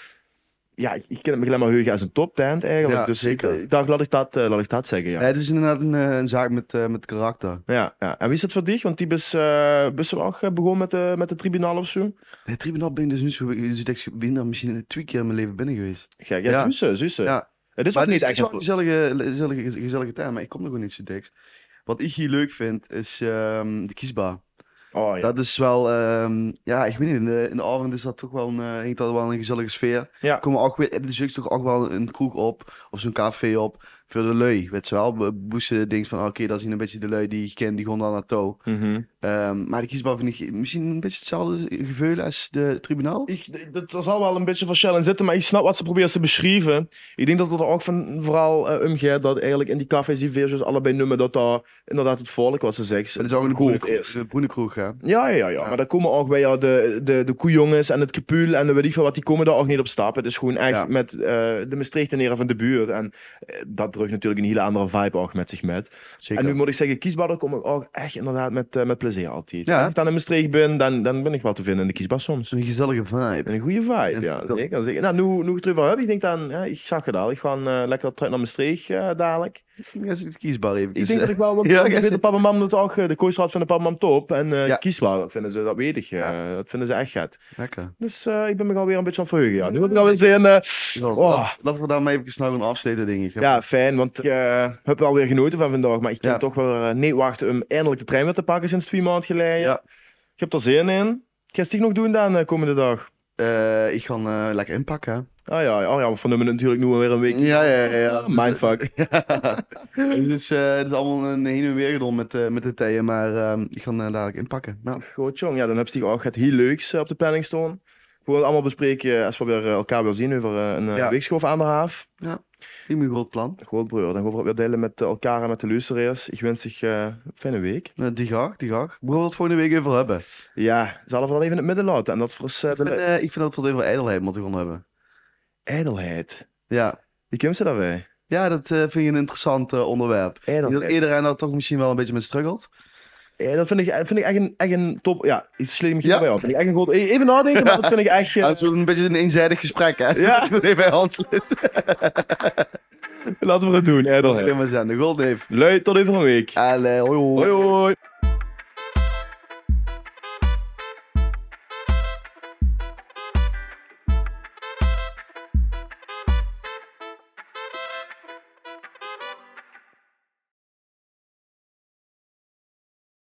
[SPEAKER 2] Ja, ik, ik ken het me alleen maar heugen als een toptent eigenlijk.
[SPEAKER 1] Ja,
[SPEAKER 2] dus
[SPEAKER 1] zeker.
[SPEAKER 2] ik, ik dacht, laat ik dat, eh, laat ik dat zeggen, ja.
[SPEAKER 1] Ja, het is inderdaad een, eh, een zaak met, eh, met karakter.
[SPEAKER 2] Ja, ja. En wie is het voor dich? Want die is, eh is er ook eh, begonnen met de, met de tribunaal of zo.
[SPEAKER 1] Het tribunaal ben ik dus nu zo, dus ik denk, ik ben daar misschien twee keer in mijn leven binnen geweest.
[SPEAKER 2] Gek,
[SPEAKER 1] Ja.
[SPEAKER 2] ja, zussen, zussen.
[SPEAKER 1] Ja.
[SPEAKER 2] Het is
[SPEAKER 1] maar
[SPEAKER 2] ook niet
[SPEAKER 1] het
[SPEAKER 2] echt
[SPEAKER 1] is
[SPEAKER 2] een
[SPEAKER 1] wel een gezellige, gezellige, gezellige tijd, maar ik kom er gewoon niet zo dik. Wat ik hier leuk vind, is ehm, de kiesbaar.
[SPEAKER 2] vro- Oh, ja.
[SPEAKER 1] Dat is wel, ehm, ja, ik weet niet, in de, in de avond is dat toch wel een, eh, hangt dat wel een gezellige sfeer.
[SPEAKER 2] Ja.
[SPEAKER 1] Komen ook weer, het is ook toch ook wel een kroeg op, of zo'n café op, voor de lui, weet je wel. Boesen denkt van, oké, dat is hier een beetje de lui die ik ken, die gewoon daar naartoe.
[SPEAKER 2] Mhm.
[SPEAKER 1] Ehm, maar de kiesbaar vind ik misschien een beetje hetzelfde geveul als de tribunaal.
[SPEAKER 2] ik, dat er zal wel een beetje verschil in zitten, maar ik snap wat ze proberen te beschrijven. Ik denk dat het er ook van vooral eh, om gaat dat eigenlijk in die cafés die veertjes allebei noemen dat daar inderdaad het volk wat ze zegt.
[SPEAKER 1] Dat is ook een
[SPEAKER 2] goed
[SPEAKER 1] groene kroeg,
[SPEAKER 2] is.
[SPEAKER 1] een groene kroeg, hè.
[SPEAKER 2] Ja, ja, ja, ja. Maar daar komen ook bij ja, de, de, de koejongens en het kepuul en de weet ik veel wat, die komen daar ook niet op stap. Het is gewoon echt
[SPEAKER 1] Ja.
[SPEAKER 2] met eh, de mestreegteneren van de buurt. En eh, dat drukt natuurlijk een hele andere vibe ook met zich met.
[SPEAKER 1] Zeker.
[SPEAKER 2] En nu moet ik zeggen, kiesbaar, daar kom ik ook echt inderdaad met, eh, met plezier altijd.
[SPEAKER 1] Ja,
[SPEAKER 2] Als
[SPEAKER 1] hè?
[SPEAKER 2] ik dan in Maastricht ben, dan, dan ben ik wel te vinden in de kiesbaar soms.
[SPEAKER 1] Zo'n gezellige vibe.
[SPEAKER 2] Een goede vibe,
[SPEAKER 1] En
[SPEAKER 2] ja.
[SPEAKER 1] vertel-
[SPEAKER 2] Zeker, zeker. Nou, nu, nu ik het erover heb, ik denk dan, ja, ik zag het al, ik ga eh, lekker terug naar Maastricht eh, dadelijk.
[SPEAKER 1] Ja, is het kiesbaar even.
[SPEAKER 2] Ik denk dat ik wel, want
[SPEAKER 1] Dus, eh, Ja,
[SPEAKER 2] ja,
[SPEAKER 1] ik
[SPEAKER 2] ik
[SPEAKER 1] zeg-
[SPEAKER 2] de papa en mam dat ook, eh, de kooisraad van de papa en mam top. En eh
[SPEAKER 1] Ja.
[SPEAKER 2] kiesbaar, dat vinden ze, dat weet ik, eh, dat vinden ze echt vet.
[SPEAKER 1] Lekker.
[SPEAKER 2] Dus eh, ik ben me alweer een beetje aan het verheugen, ja. Nu heb ik alweer zin, eh,
[SPEAKER 1] Wel,
[SPEAKER 2] oh.
[SPEAKER 1] laat- Laten we daarmee even snel gaan afsluiten, denk ik.
[SPEAKER 2] Ja, fijn, want ik eh, heb wel weer genoten van vandaag. Maar ik kan
[SPEAKER 1] Ja.
[SPEAKER 2] toch wel eh, nee wachten om eindelijk de trein weer te pakken sinds twee maanden geleden.
[SPEAKER 1] Ja.
[SPEAKER 2] Ik heb er zin in. Ga je het nog doen dan de komende dag?
[SPEAKER 1] Eh, ik ga eh, lekker inpakken. hè.
[SPEAKER 2] Ah ja, oh, ja want van hem natuurlijk nu weer een week.
[SPEAKER 1] Ja, ja, ja. ja.
[SPEAKER 2] Ah, mindfuck.
[SPEAKER 1] Het is, eh, het is allemaal een heen en weer gedaan met, eh, met de theeën, maar ehm, ik ga eh, dadelijk inpakken. Nou,
[SPEAKER 2] Goed, jong. Ja, dan heb je ook het heel leuks eh, op de planning staan. Gewoon allemaal bespreken eh, als we weer eh, elkaar weer zien over eh, een eh,
[SPEAKER 1] Ja.
[SPEAKER 2] weekschoof aan de haaf.
[SPEAKER 1] die moet een groot plan.
[SPEAKER 2] Goed, broer. Dan gaan we het weer delen met eh, elkaar en met de luisteraars. Ik wens je eh, een fijne week.
[SPEAKER 1] Nou, die graag, die graag. We gaan het volgende week over hebben. Ik
[SPEAKER 2] Ja, zal we wel even in het midden laten. En dat is eh
[SPEAKER 1] vind,
[SPEAKER 2] de
[SPEAKER 1] eh, ik vind dat we het over ijdelheid moeten gaan hebben.
[SPEAKER 2] ijdelheid.
[SPEAKER 1] Ja,
[SPEAKER 2] Wie komt ze daarbij?
[SPEAKER 1] ja dat eh, vind ik een interessant eh, onderwerp. Ik denk dat
[SPEAKER 2] Ijdelheid.
[SPEAKER 1] iedereen daar toch misschien wel een beetje mee struggelt.
[SPEAKER 2] Ja, dat vind ik, vind ik echt, een, echt een top. Ja, ik sleem me
[SPEAKER 1] Ja.
[SPEAKER 2] hierbij op. Vind ik echt een goed, e-, even nadenken, maar dat vind ik echt. eh,
[SPEAKER 1] Ja, het is wel een beetje een eenzijdig gesprek, hè?
[SPEAKER 2] Ja.
[SPEAKER 1] Ik ben even bij Hans Lutz.
[SPEAKER 2] laten we het doen, Erdelheid.
[SPEAKER 1] Prima zijn, de Goldneef.
[SPEAKER 2] Lui, tot over een week.
[SPEAKER 1] Allee, hoi hoi.
[SPEAKER 2] Hoi hoi.